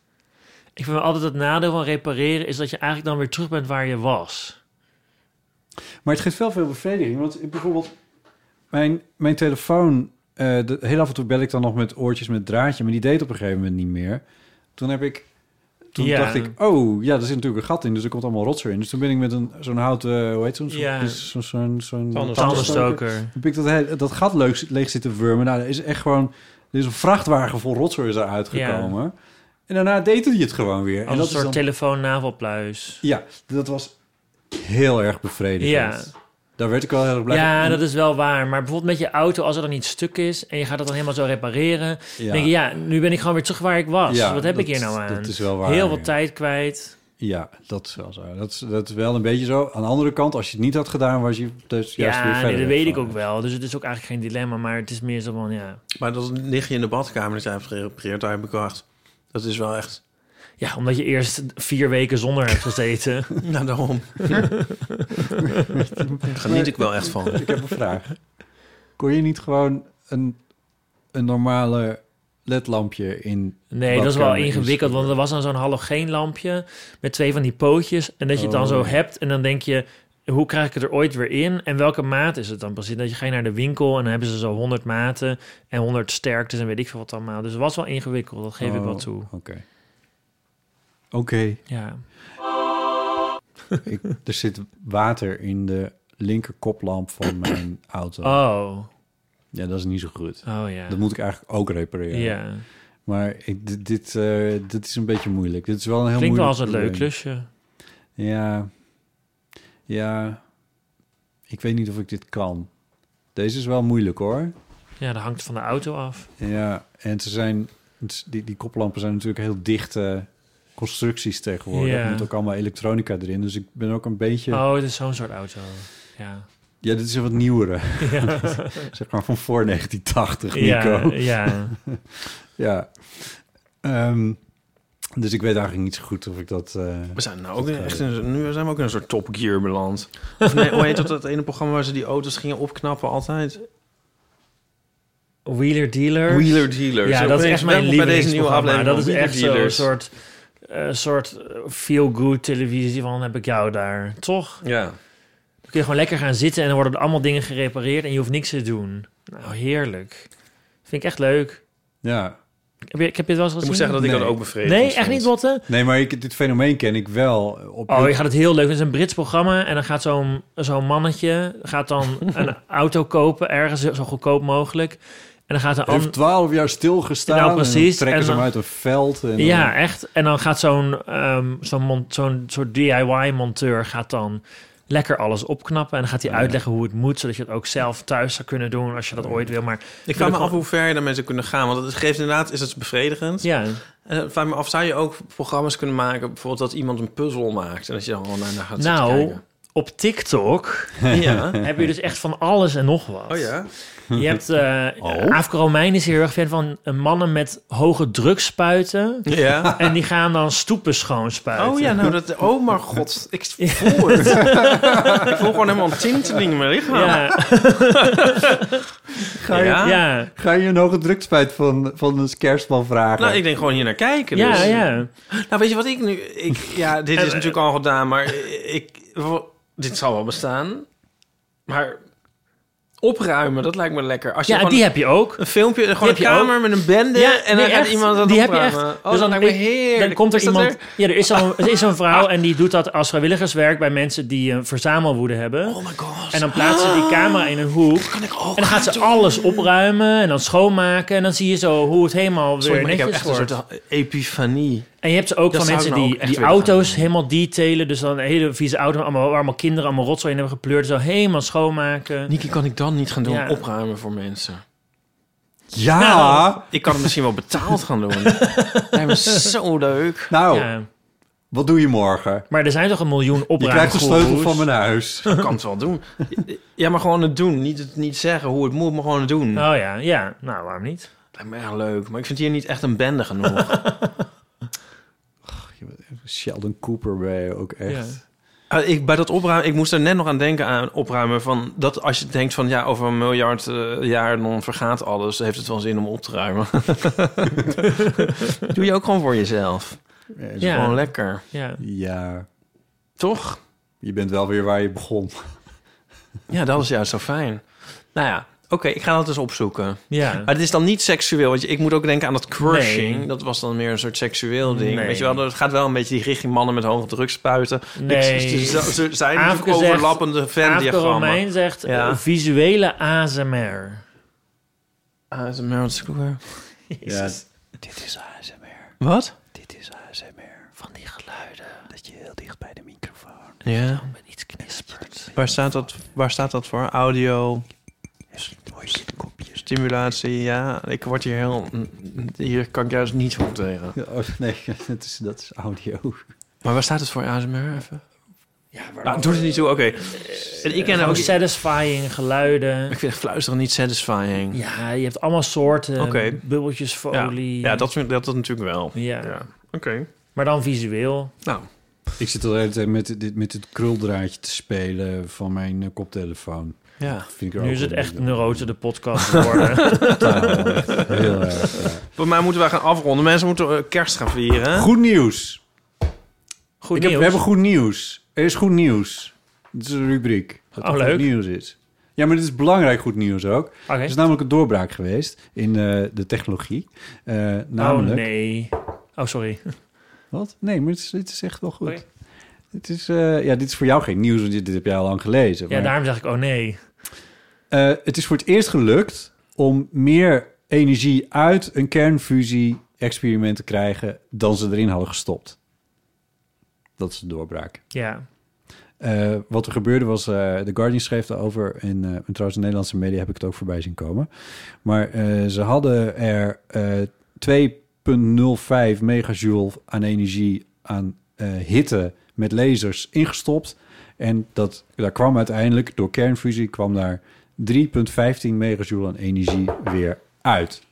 Ik vind altijd het nadeel van repareren is dat je eigenlijk dan weer terug bent waar je was.
Maar het geeft wel veel bevrediging. Want ik bijvoorbeeld, mijn, mijn telefoon, eh, de, heel af en toe bel ik dan nog met oortjes met draadje, maar die deed op een gegeven moment niet meer. Toen heb ik, toen
Ja.
dacht ik, oh ja, er zit natuurlijk een gat in, dus er komt allemaal rotzooi in. Dus toen ben ik met een zo'n houten, hoe heet zo'n, zo'n-
Ja.
zo'n, zo'n, zo'n
Tandenstoker.
heb ik dat, hele- dat gat leeg, leeg zitten wurmen. Nou, er is echt gewoon... Er is een vrachtwagen vol rotzooi is eruit
Ja.
gekomen. En daarna deed hij het gewoon weer. En
Als een
dat, is
soort
dan-
telefoon-navelpluis.
ja, dat was heel erg bevredigend.
Ja.
Daar werd ik wel heel erg blij
Ja,
van.
dat is wel waar. Maar bijvoorbeeld met je auto, als er dan iets stuk is en je gaat het dan helemaal zo repareren,
Ja.
denk je, ja, nu ben ik gewoon weer terug waar ik was.
Ja,
Wat heb ik
dat-
hier nou aan?
dat is wel waar,
Heel
ja.
wat tijd kwijt.
Ja, dat is wel zo. Dat is, dat is wel een beetje zo. Aan de andere kant, als je het niet had gedaan, was je dus juist weer
Ja,
verder.
nee, dat weet ik
van.
ook wel. Dus het is ook eigenlijk geen dilemma, maar het is meer zo van, ja...
Maar dan lig je in de badkamer dat jij hebt gerepareerd. Daar heb ik wel echt- Dat is wel echt... (laughs)
Ja, omdat je eerst vier weken zonder hebt gezeten.
Nou, daarom. (laughs) Daar geniet ik wel echt van.
Dus Ik heb een vraag. Kon je niet gewoon een, een normale ledlampje in...
Nee, dat is wel
badkamer
ingewikkeld, want er was dan zo'n halogeenlampje met twee van die pootjes. En dat je het dan
Oh.
zo hebt en dan denk je, hoe krijg ik het er ooit weer in? En welke maat is het dan precies? Dat je ging naar de winkel en dan hebben ze zo 100 maten en 100 sterktes en weet ik veel wat allemaal. Dus het was wel ingewikkeld, dat geef ik wel
Oh,
toe.
Oké. Oké.
Ja.
(laughs) Ik, er zit water in de linker koplamp van mijn auto.
Oh,
Ja, dat is niet zo goed.
oh ja.
Dat moet ik eigenlijk ook repareren.
Ja,
Maar ik, dit, dit, eh, dit is een beetje moeilijk. Dit is wel een heel
klinkt wel
moeilijk
als een leuk dus.
probleem.
klusje.
Ja. Ja. Ik weet niet of ik dit kan. Deze is wel moeilijk hoor.
Ja, dat hangt van de auto af.
Ja, en ze zijn... het is- Die, die koplampen zijn natuurlijk heel dichte constructies tegenwoordig.
Ja.
Met ook allemaal elektronica erin. Dus ik ben ook een beetje...
Oh, het is zo'n soort auto. Ja.
Ja, dit is een wat
(laughs)
nieuwere. (laughs) zeg maar van voor 1980,
Ja,
Nico. Ja. (laughs)
ja.
Ehm, dus ik weet eigenlijk niet zo goed of ik dat... eh,
We zijn nou ook echt in, een- nu zijn we ook in een soort Top Gear beland. Of nee, hoe heet dat, dat ene programma waar ze die auto's gingen opknappen altijd?
Wheeler dealer.
Wheeler Dealer.
Ja,
Zo
dat is
opeens
echt mijn
welkom bij deze nieuwe
lievelingsprogramma.
aflevering
Dat is
van
echt
Wheeler
zo'n
Dealers.
soort, eh, soort feel-good televisie van heb ik jou daar. Toch?
Ja.
Dan kun je gewoon lekker gaan zitten en dan worden er allemaal dingen gerepareerd en je hoeft niks te doen. Nou, heerlijk. Vind ik echt leuk.
ja.
Heb je, ik heb je het wel eens gezien?
Ik moet zeggen dat ik
Nee.
dat ook bevredigend
Nee, echt
vond.
niet, Lotte?
Nee, maar ik, dit fenomeen ken ik wel. Op
Oh, je gaat het heel leuk. Het is een Brits programma en dan gaat zo'n zo'n mannetje gaat
(laughs)
dan een auto kopen ergens zo goedkoop mogelijk. En dan gaat een
heeft
ander...
12 jaar stilgestaan.
Nou,
En dan
precies.
trekken
En
ze hem
dan-
uit een veld. En dan-
Ja, echt. En dan gaat zo'n ehm, zo'n mon- zo'n soort DIY-monteur gaat dan lekker alles opknappen. En dan gaat hij
Oh,
uitleggen hoe het moet, zodat je het ook zelf thuis zou kunnen doen als je dat ooit wil. Maar
Ik vraag me
Wil ik
af hoe ver je daarmee zou kunnen gaan. Want het geeft inderdaad, is het bevredigend.
ja,
En ik vraag me af, zou je ook programma's kunnen maken... bijvoorbeeld dat iemand een puzzel maakt... en dat je dan gewoon naar naar gaat zitten
nou, op
(laughs)
TikTok (laughs)
kijken? Ja.
heb je dus echt van alles en nog wat.
Oh ja?
Je hebt,
(laughs)
eh
Oh.
Afro Romein is hier heel erg fan van eh, mannen met hoge drukspuiten.
Ja.
En die gaan dan stoepen schoonspuiten.
Oh ja, nou dat... Oh mijn god, ik
(laughs)
voel het. ik voel gewoon helemaal een tinteling in mijn lichaam.
Ja,
Ga, je,
Nou, Ja.
ja,
ga je een hoge drukspijt van, van een kerstman vragen?
Nou, ik denk gewoon hier naar kijken.
ja,
Dus.
ja.
Nou, weet je wat ik nu... Ik,
(laughs)
ja, dit is natuurlijk al gedaan, maar ik... Dit zal wel bestaan. Maar opruimen, dat lijkt me lekker. Als je
Ja,
gewoon
die heb je ook.
een filmpje, gewoon een
heb je
kamer met een bende...
Ja,
en dan
nee,
gaat
echt.
iemand dat
Die heb je
opruimen.
echt.
Oh,
Dus
dat
dan-
lijkt me
ik-
heerlijk.
Dan komt er
Is dat Ah.
iemand. Ja, er is zo'n er is zo'n vrouw en die doet dat als vrijwilligerswerk bij mensen die een verzamelwoede hebben.
Oh my god.
En dan plaatst ze die camera in een hoek.
kan ik
En
ook.
dan gaat ze alles opruimen en dan schoonmaken. En dan zie je zo hoe het helemaal weer
Sorry, maar ik heb
netjes
echt een
wordt.
soort eh, epifanie.
En je hebt ze ook
Dat
van
zou ik
mensen
nou
die,
ook echt
die
willen gaan
auto's
doen.
helemaal detailen. Dus dan een hele vieze auto allemaal, waar allemaal kinderen allemaal rotzooi in hebben gepleurd. Zo helemaal schoonmaken.
Niki, kan ik dan niet gaan doen?
Ja.
Opruimen voor mensen.
ja.
Nou.
Nou,
(laughs)
Ik kan het misschien wel betaald gaan doen. Dat lijkt me zo leuk.
Ja.
Nou, Wat doe je morgen?
Maar er zijn toch een miljoen
Je
opruimgoeroes?
krijgt de sleutel van mijn huis. (laughs)
Ik (laughs) kan het wel doen. Ja, maar gewoon het doen. Niet, het niet zeggen hoe het moet, maar gewoon het doen.
Oh ja, ja. Nou, waarom niet?
Lijkt me echt leuk. Maar ik vind hier niet echt een bende genoeg. (laughs)
Sheldon Cooper ben je ook echt.
Ja.
Ah, ik, bij dat opruimen, ik moest er net nog aan denken aan opruimen. Van dat als je denkt van ja, over een miljard eh, jaar dan vergaat alles. Heeft het wel zin om op te ruimen. (laughs) Doe je ook gewoon voor jezelf.
Ja.
Is
Ja.
Gewoon lekker.
Ja.
ja,
Toch?
je bent wel weer waar je begon.
Ja, dat is juist zo fijn. Nou ja, oké, ik ga dat eens opzoeken.
ja.
Maar het is dan niet seksueel. Want je- ik moet ook denken aan dat crushing.
Nee.
Dat was dan meer een soort seksueel ding.
Nee.
Weet je wel, dat gaat wel een beetje die richting mannen met hoge druk spuiten.
Nee.
Ik- Er er zijn
Aafke
natuurlijk
zegt-
overlappende
Aafke
Venn-diagrammen.
Romein zegt
Ja.
eh, visuele ASMR.
Ah, het is een Meryl Streep.
Ja,
Dit is ASMR.
Wat?
Dit is ASMR.
Van die geluiden.
Dat je heel dicht bij de microfoon.
Ja.
Met iets knispert.
Waar staat dat, waar staat dat voor? Audio,
Mooi zit kopjes.
stimulatie, ja. Ik word hier heel... Hier kan ik juist niet goed tegen.
oh, nee, (laughs) dat is, dat is audio.
Maar waar staat het voor ASMR even?
Ja,
Nou, doet het niet toe, oké. En ik ken
ook
ook...
satisfying geluiden.
Ik vind fluisteren niet satisfying.
Ja, je hebt allemaal soorten.
Oké.
Bubbeltjes voor
Ja,
olie.
ja dat, vind- dat, dat natuurlijk wel.
Ja.
Ja. Oké.
Maar dan visueel.
Nou,
Ik zit al de hele tijd met, dit, met het kruldraadje te spelen van mijn eh, koptelefoon.
ja.
Vind ik er
Nu
ook
is het
wel
echt
een-
Neurote de podcast geworden.
Heel erg, ja.
Voor mij moeten wij gaan afronden. Mensen moeten eh, kerst gaan vieren. hè?
Goed nieuws.
Goed
ik heb,
nieuws.
we hebben goed nieuws. Er is goed nieuws. Dit is een rubriek. Dat
Oh,
er
leuk.
Goed nieuws is. Ja, maar dit is belangrijk goed nieuws ook.
Oké.
Er is namelijk een doorbraak geweest in eh, de technologie. Eh, namelijk...
Oh nee. Oh, sorry.
Wat? Nee, maar het is, het is echt wel goed.
Oké.
Het is, eh, ja, dit is voor jou geen nieuws, want dit, dit heb jij al lang gelezen.
Ja,
maar-
daarom zeg ik oh nee.
Eh, het is voor het eerst gelukt om meer energie uit een kernfusie-experiment te krijgen dan ze erin hadden gestopt. Dat is de doorbraak.
Ja.
Eh, wat er gebeurde was, eh, The Guardian schreef daarover en, eh, en trouwens in Nederlandse media heb ik het ook voorbij zien komen. Maar eh, ze hadden er eh 2,05 megajoule aan energie aan eh, hitte met lasers ingestopt. En dat, daar kwam uiteindelijk door kernfusie kwam daar 3,15 megajoule aan energie weer uit.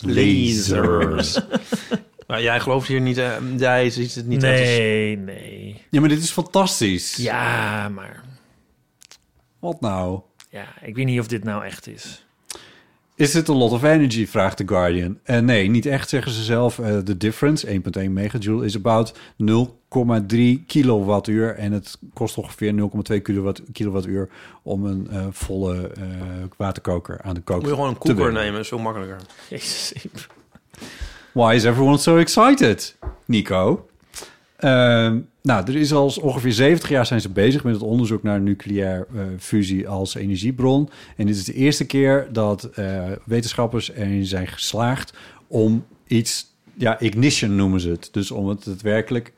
Lasers. Maar Nou, jij gelooft hier niet, eh, jij ziet het niet echt Dus als-
nee, nee.
Ja, maar dit is fantastisch.
Ja, maar...
Wat nou?
Ja, ik weet niet of dit nou echt is. (laughs)
Is het a lot of energy? vraagt The Guardian. Eh, nee, niet echt, zeggen ze zelf. Eh, the difference, 1,1 megajoule, is about 0,3 kilowattuur. En het kost ongeveer 0,2 kilowatt, kilowattuur om een eh, volle eh, waterkoker aan de kook
Moet je gewoon een
te
koeker
brengen.
nemen, is veel makkelijker.
Jezus. ik-
Why is everyone so excited, Nico? Ehm, nou, er is al ongeveer 70 jaar zijn ze bezig met het onderzoek naar nucleair eh, fusie als energiebron. En dit is de eerste keer dat eh, wetenschappers erin zijn geslaagd om iets, ja, ignition noemen ze het. Dus om het daadwerkelijk.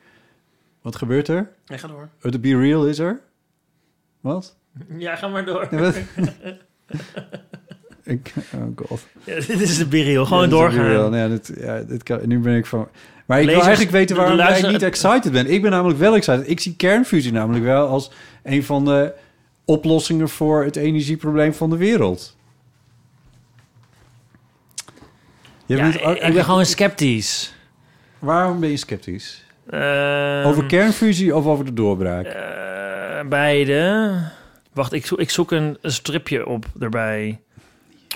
Wat gebeurt er?
Nee, ga door.
Oh, De Be Real is er? Wat?
Ja, ga maar door.
Ja, wat? Ik, oh god.
Ja, dit is de biriel. Gewoon
Ja, dat is
doorgaan.
natuurlijk wel. Ja, dit, ja, dit kan, nu ben ik van... Maar ik wil
Lezers,
eigenlijk weten
de
waarom jij
luister-
niet excited bent. Ik ben namelijk wel excited. Ik zie kernfusie namelijk wel als een van de oplossingen voor het energieprobleem van de wereld. Je
Ja,
bent ook-
ik ben gewoon sceptisch.
Waarom ben je sceptisch?
Ehm,
Over kernfusie of over de doorbraak?
eh, beide. Wacht, ik, zo, ik zoek een, een stripje op erbij.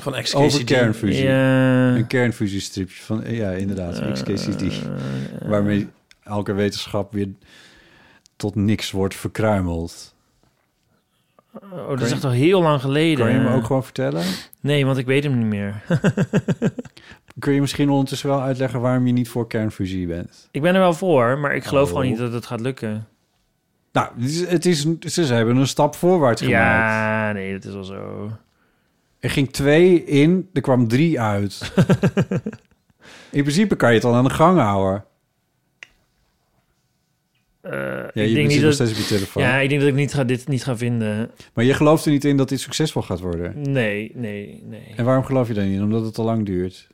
Van XKCD.
over kernfusie.
Ja. Eh,
Een kernfusiestripje van, eh, ja, inderdaad, XKCD. waarmee elke wetenschap weer tot niks wordt verkruimeld.
Oh, dat is echt al heel lang geleden.
Kan je me ook gewoon vertellen?
Nee, want ik weet hem niet meer. (laughs)
Kun je misschien ondertussen wel uitleggen waarom je niet voor kernfusie bent?
ik ben er wel voor, maar ik geloof
Oh.
gewoon niet dat het gaat lukken.
Nou, het is, het is, ze hebben een stap voorwaarts gemaakt.
Ja, nee, dat is wel zo.
Er ging twee in, er kwam drie
(laughs)
uit. in principe kan je het al aan de gang houden.
Eh,
Ja,
ik
je
denk
zit
niet
nog
dat,
steeds op je telefoon.
ja, ik denk dat ik niet ga, dit niet ga vinden.
Maar je gelooft er niet in dat dit succesvol gaat worden.
Nee, nee, nee.
En waarom geloof je daar niet in? Omdat het te lang duurt.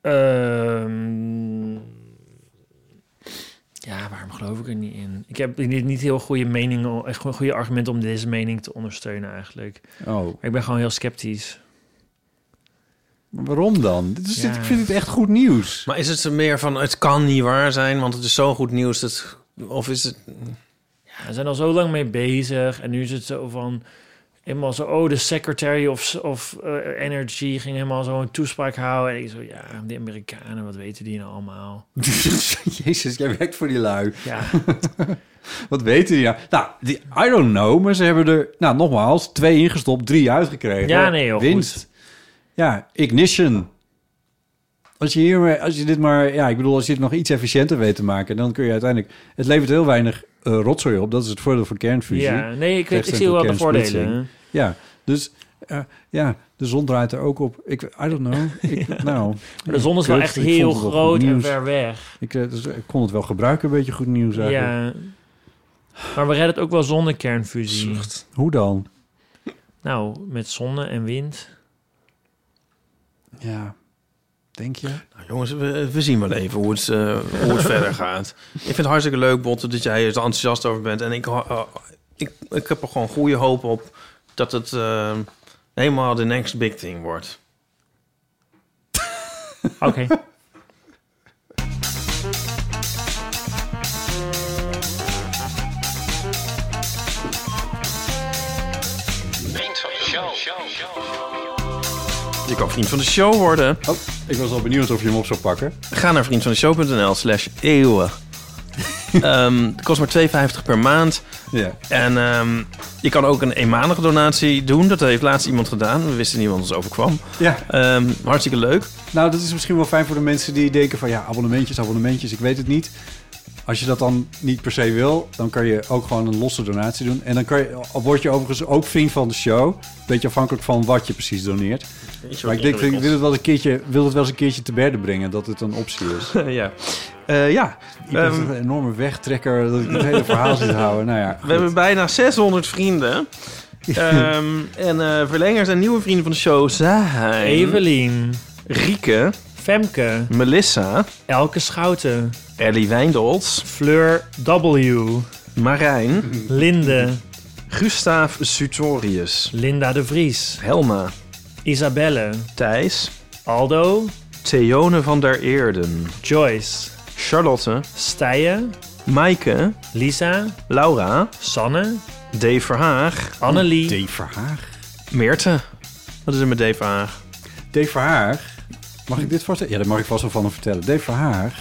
Ehm, Ja, waarom geloof ik er niet in? Ik heb niet, niet heel goede meningen, echt gewoon goede argumenten om deze mening te ondersteunen eigenlijk.
Oh,
Maar ik ben gewoon heel sceptisch.
maar waarom dan? Dit is, dit-
Ja.
ik vind het echt goed nieuws.
Maar is het meer van het kan niet waar zijn, want het is zo goed nieuws dat. Of is het.
Ja, we zijn al zo lang mee bezig en nu is het zo van helemaal zo oh de secretary of of eh, energy ging helemaal zo een toespraak houden en ik zo ja die Amerikanen wat weten die nou allemaal?
(laughs) Jezus, jij werkt voor die lui. (laughs)
Ja,
Wat weten die nou? Nou, die, I don't know, maar ze hebben er, nou nogmaals, twee ingestopt, drie uitgekregen.
Ja, nee, heel
Winst.
goed.
Ja, ignition. Als je, hier, maar- als je dit maar, ja, ik bedoel, als je dit nog iets efficiënter weet te maken, dan kun je uiteindelijk, het levert heel weinig eh, rotzooi op. Dat is het voordeel van kernfusie.
ja, nee ik, weet, ik
Tegenstelling
zie wel de
tot
voordelen.
kernsplitsing. Ja, dus eh, ja, de zon draait er ook op. Ik, I
(laughs)
don't know. Ik, Nou,
Maar de zon is wel
kut,
echt
ik vond
heel
het wel goed
groot en
nieuws.
ver weg.
Ik, eh, dus ik kon het wel gebruiken, een beetje goed nieuws eigenlijk.
Ja, maar we redden het ook wel zonder kernfusie.
Hoe dan?
Nou, met zonne en
(laughs)
wind.
Ja, denk je?
Nou, jongens, we, we zien wel even hoe het, eh, hoe het verder gaat. Ik vind het hartstikke leuk, Botte, dat jij er enthousiast over bent. En ik, ho- eh, ik, ik heb er gewoon goede hoop op dat het eh, helemaal de next big thing wordt.
Oké.
Je kan vriend van de show worden.
Oh, ik was al benieuwd of je hem op zou pakken.
Ga naar vriendvandeshow.nl slash eeuwen. Ehm, het kost maar 2,50 per maand.
Ja.
En ehm, je kan ook een eenmalige donatie doen. Dat heeft laatst iemand gedaan. We wisten niet wat ons overkwam.
ja,
Ehm, hartstikke leuk. (laughs)
nou dat is misschien wel fijn voor de mensen die denken van... ja, abonnementjes, abonnementjes, ik weet het niet. Als je dat dan niet per se wil, dan kan je ook gewoon een losse donatie doen. En dan kan je, al word je overigens ook vriend van de show. Beetje afhankelijk van wat je precies doneert. Maar ik denk, ik wil het wel, eens een keertje, wil het wel eens een keertje te berden brengen dat het een optie is.
ja. Eh, ja.
Ik ben
Ehm,
toch een enorme wegtrekker dat ik het hele verhaal (laughs) zit te houden. Nou ja,
We hebben bijna 600 vrienden. Ehm, en eh, verlengers en nieuwe vrienden van de show zijn...
Evelien,
Rieke,
Femke,
Melissa,
Elke Schouten,
Ellie Wijndolts,
Fleur W,
Marijn,
Linde,
Gustav Sutorius,
Linda de Vries,
Helma,
Isabelle,
Thijs,
Aldo,
Theone van der Eerden,
Joyce,
Charlotte,
Stijen,
Maaike,
Lisa,
Laura,
Sanne,
Dave Verhaag,
Annelie,
Dave Verhaag.
Meerte. Wat is er met Dave Verhaag?
Dave Verhaag, mag ik dit vast? Ja, daar mag ik vast wel van hem vertellen. Dave Verhaag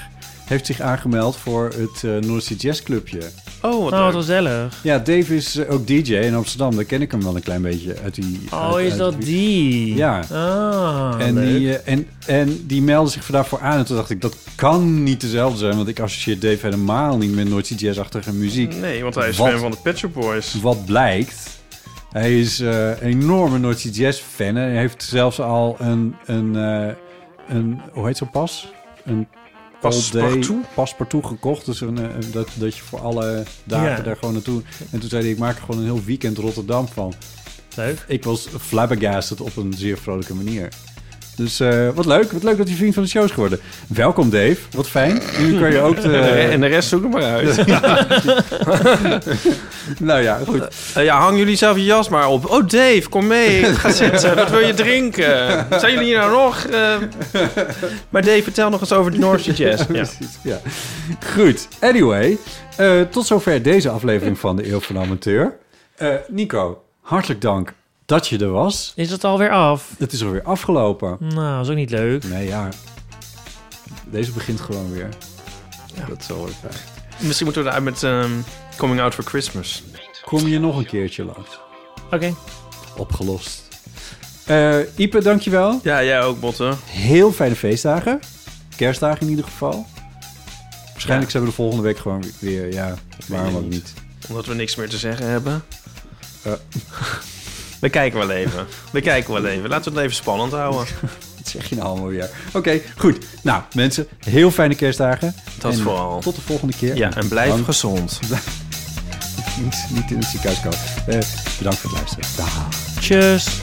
heeft zich aangemeld voor het eh Noordzee Jazz Clubje.
Oh, wat
Oh, wat
leuk.
gezellig.
Ja, Dave is eh, ook DJ in Amsterdam. Daar ken ik hem wel een klein beetje uit die...
Oh,
uit-
is
uit-
dat die?
Ja.
Ah,
En
leuk.
die, eh, en, en die meldde zich daarvoor aan. En toen dacht ik, dat kan niet dezelfde zijn. Want ik associeer Dave helemaal niet met Noordzee Jazz-achtige muziek.
Nee, want hij is
Wat?
fan van de Pet Shop Boys.
Wat blijkt... Hij is eh, een enorme Noordzee Jazz-fan. En hij heeft zelfs al een... een, eh, een hoe heet zo'n pas? Een
Passepartout?
all-day paspartout gekocht. Dus een, eh, dat, dat je voor alle dagen
Ja.
daar gewoon naartoe... En toen zei hij, ik maak er gewoon een heel weekend Rotterdam van.
Leuk.
Ik was flabbergasted op een zeer vrolijke manier. Dus eh, wat leuk. Wat leuk dat je vriend van de show is geworden. Welkom Dave. Wat fijn. Nu kan je ook... eh,
Eh, en
De...
de rest zoek hem maar uit.
nou ja, goed.
Eh, ja, hang jullie zelf je jas maar op. Oh, Dave, kom mee. (laughs) Ga zitten. Wat wil je drinken? Zijn jullie hier nou nog? Eh, Maar Dave, vertel nog eens over de Noorse jazz. (laughs) Ja.
Precies, ja. Goed. Anyway. eh, tot zover deze aflevering van de Eeuw van de Amateur. Eh, Nico, hartelijk dank dat je er was.
Is het alweer af?
Het is alweer afgelopen.
Nou, is ook niet leuk.
Nee, ja. Deze begint gewoon weer. Dat is wel weer fijn.
Misschien moeten we eruit met ehm, Coming Out for Christmas.
Kom je nog een keertje langs.
Oké.
Opgelost. Eh Ipe, dankjewel.
Ja, jij ook, Botte.
Heel fijne feestdagen. Kerstdagen in ieder geval. Waarschijnlijk zijn we de volgende week gewoon weer, ja, waarom ook niet.
Omdat we niks meer te zeggen hebben.
Ja.
(laughs) We kijken wel even. We kijken wel even. Laten we het even spannend houden.
Wat zeg je nou allemaal weer? Oké, goed. Nou, mensen, heel fijne kerstdagen.
Dat
En
vooral.
Tot de volgende keer.
Ja, en blijf
Dank.
gezond.
Niet, niet in het ziekenhuis komen. Eh, bedankt voor het luisteren. Dag.
Tjus.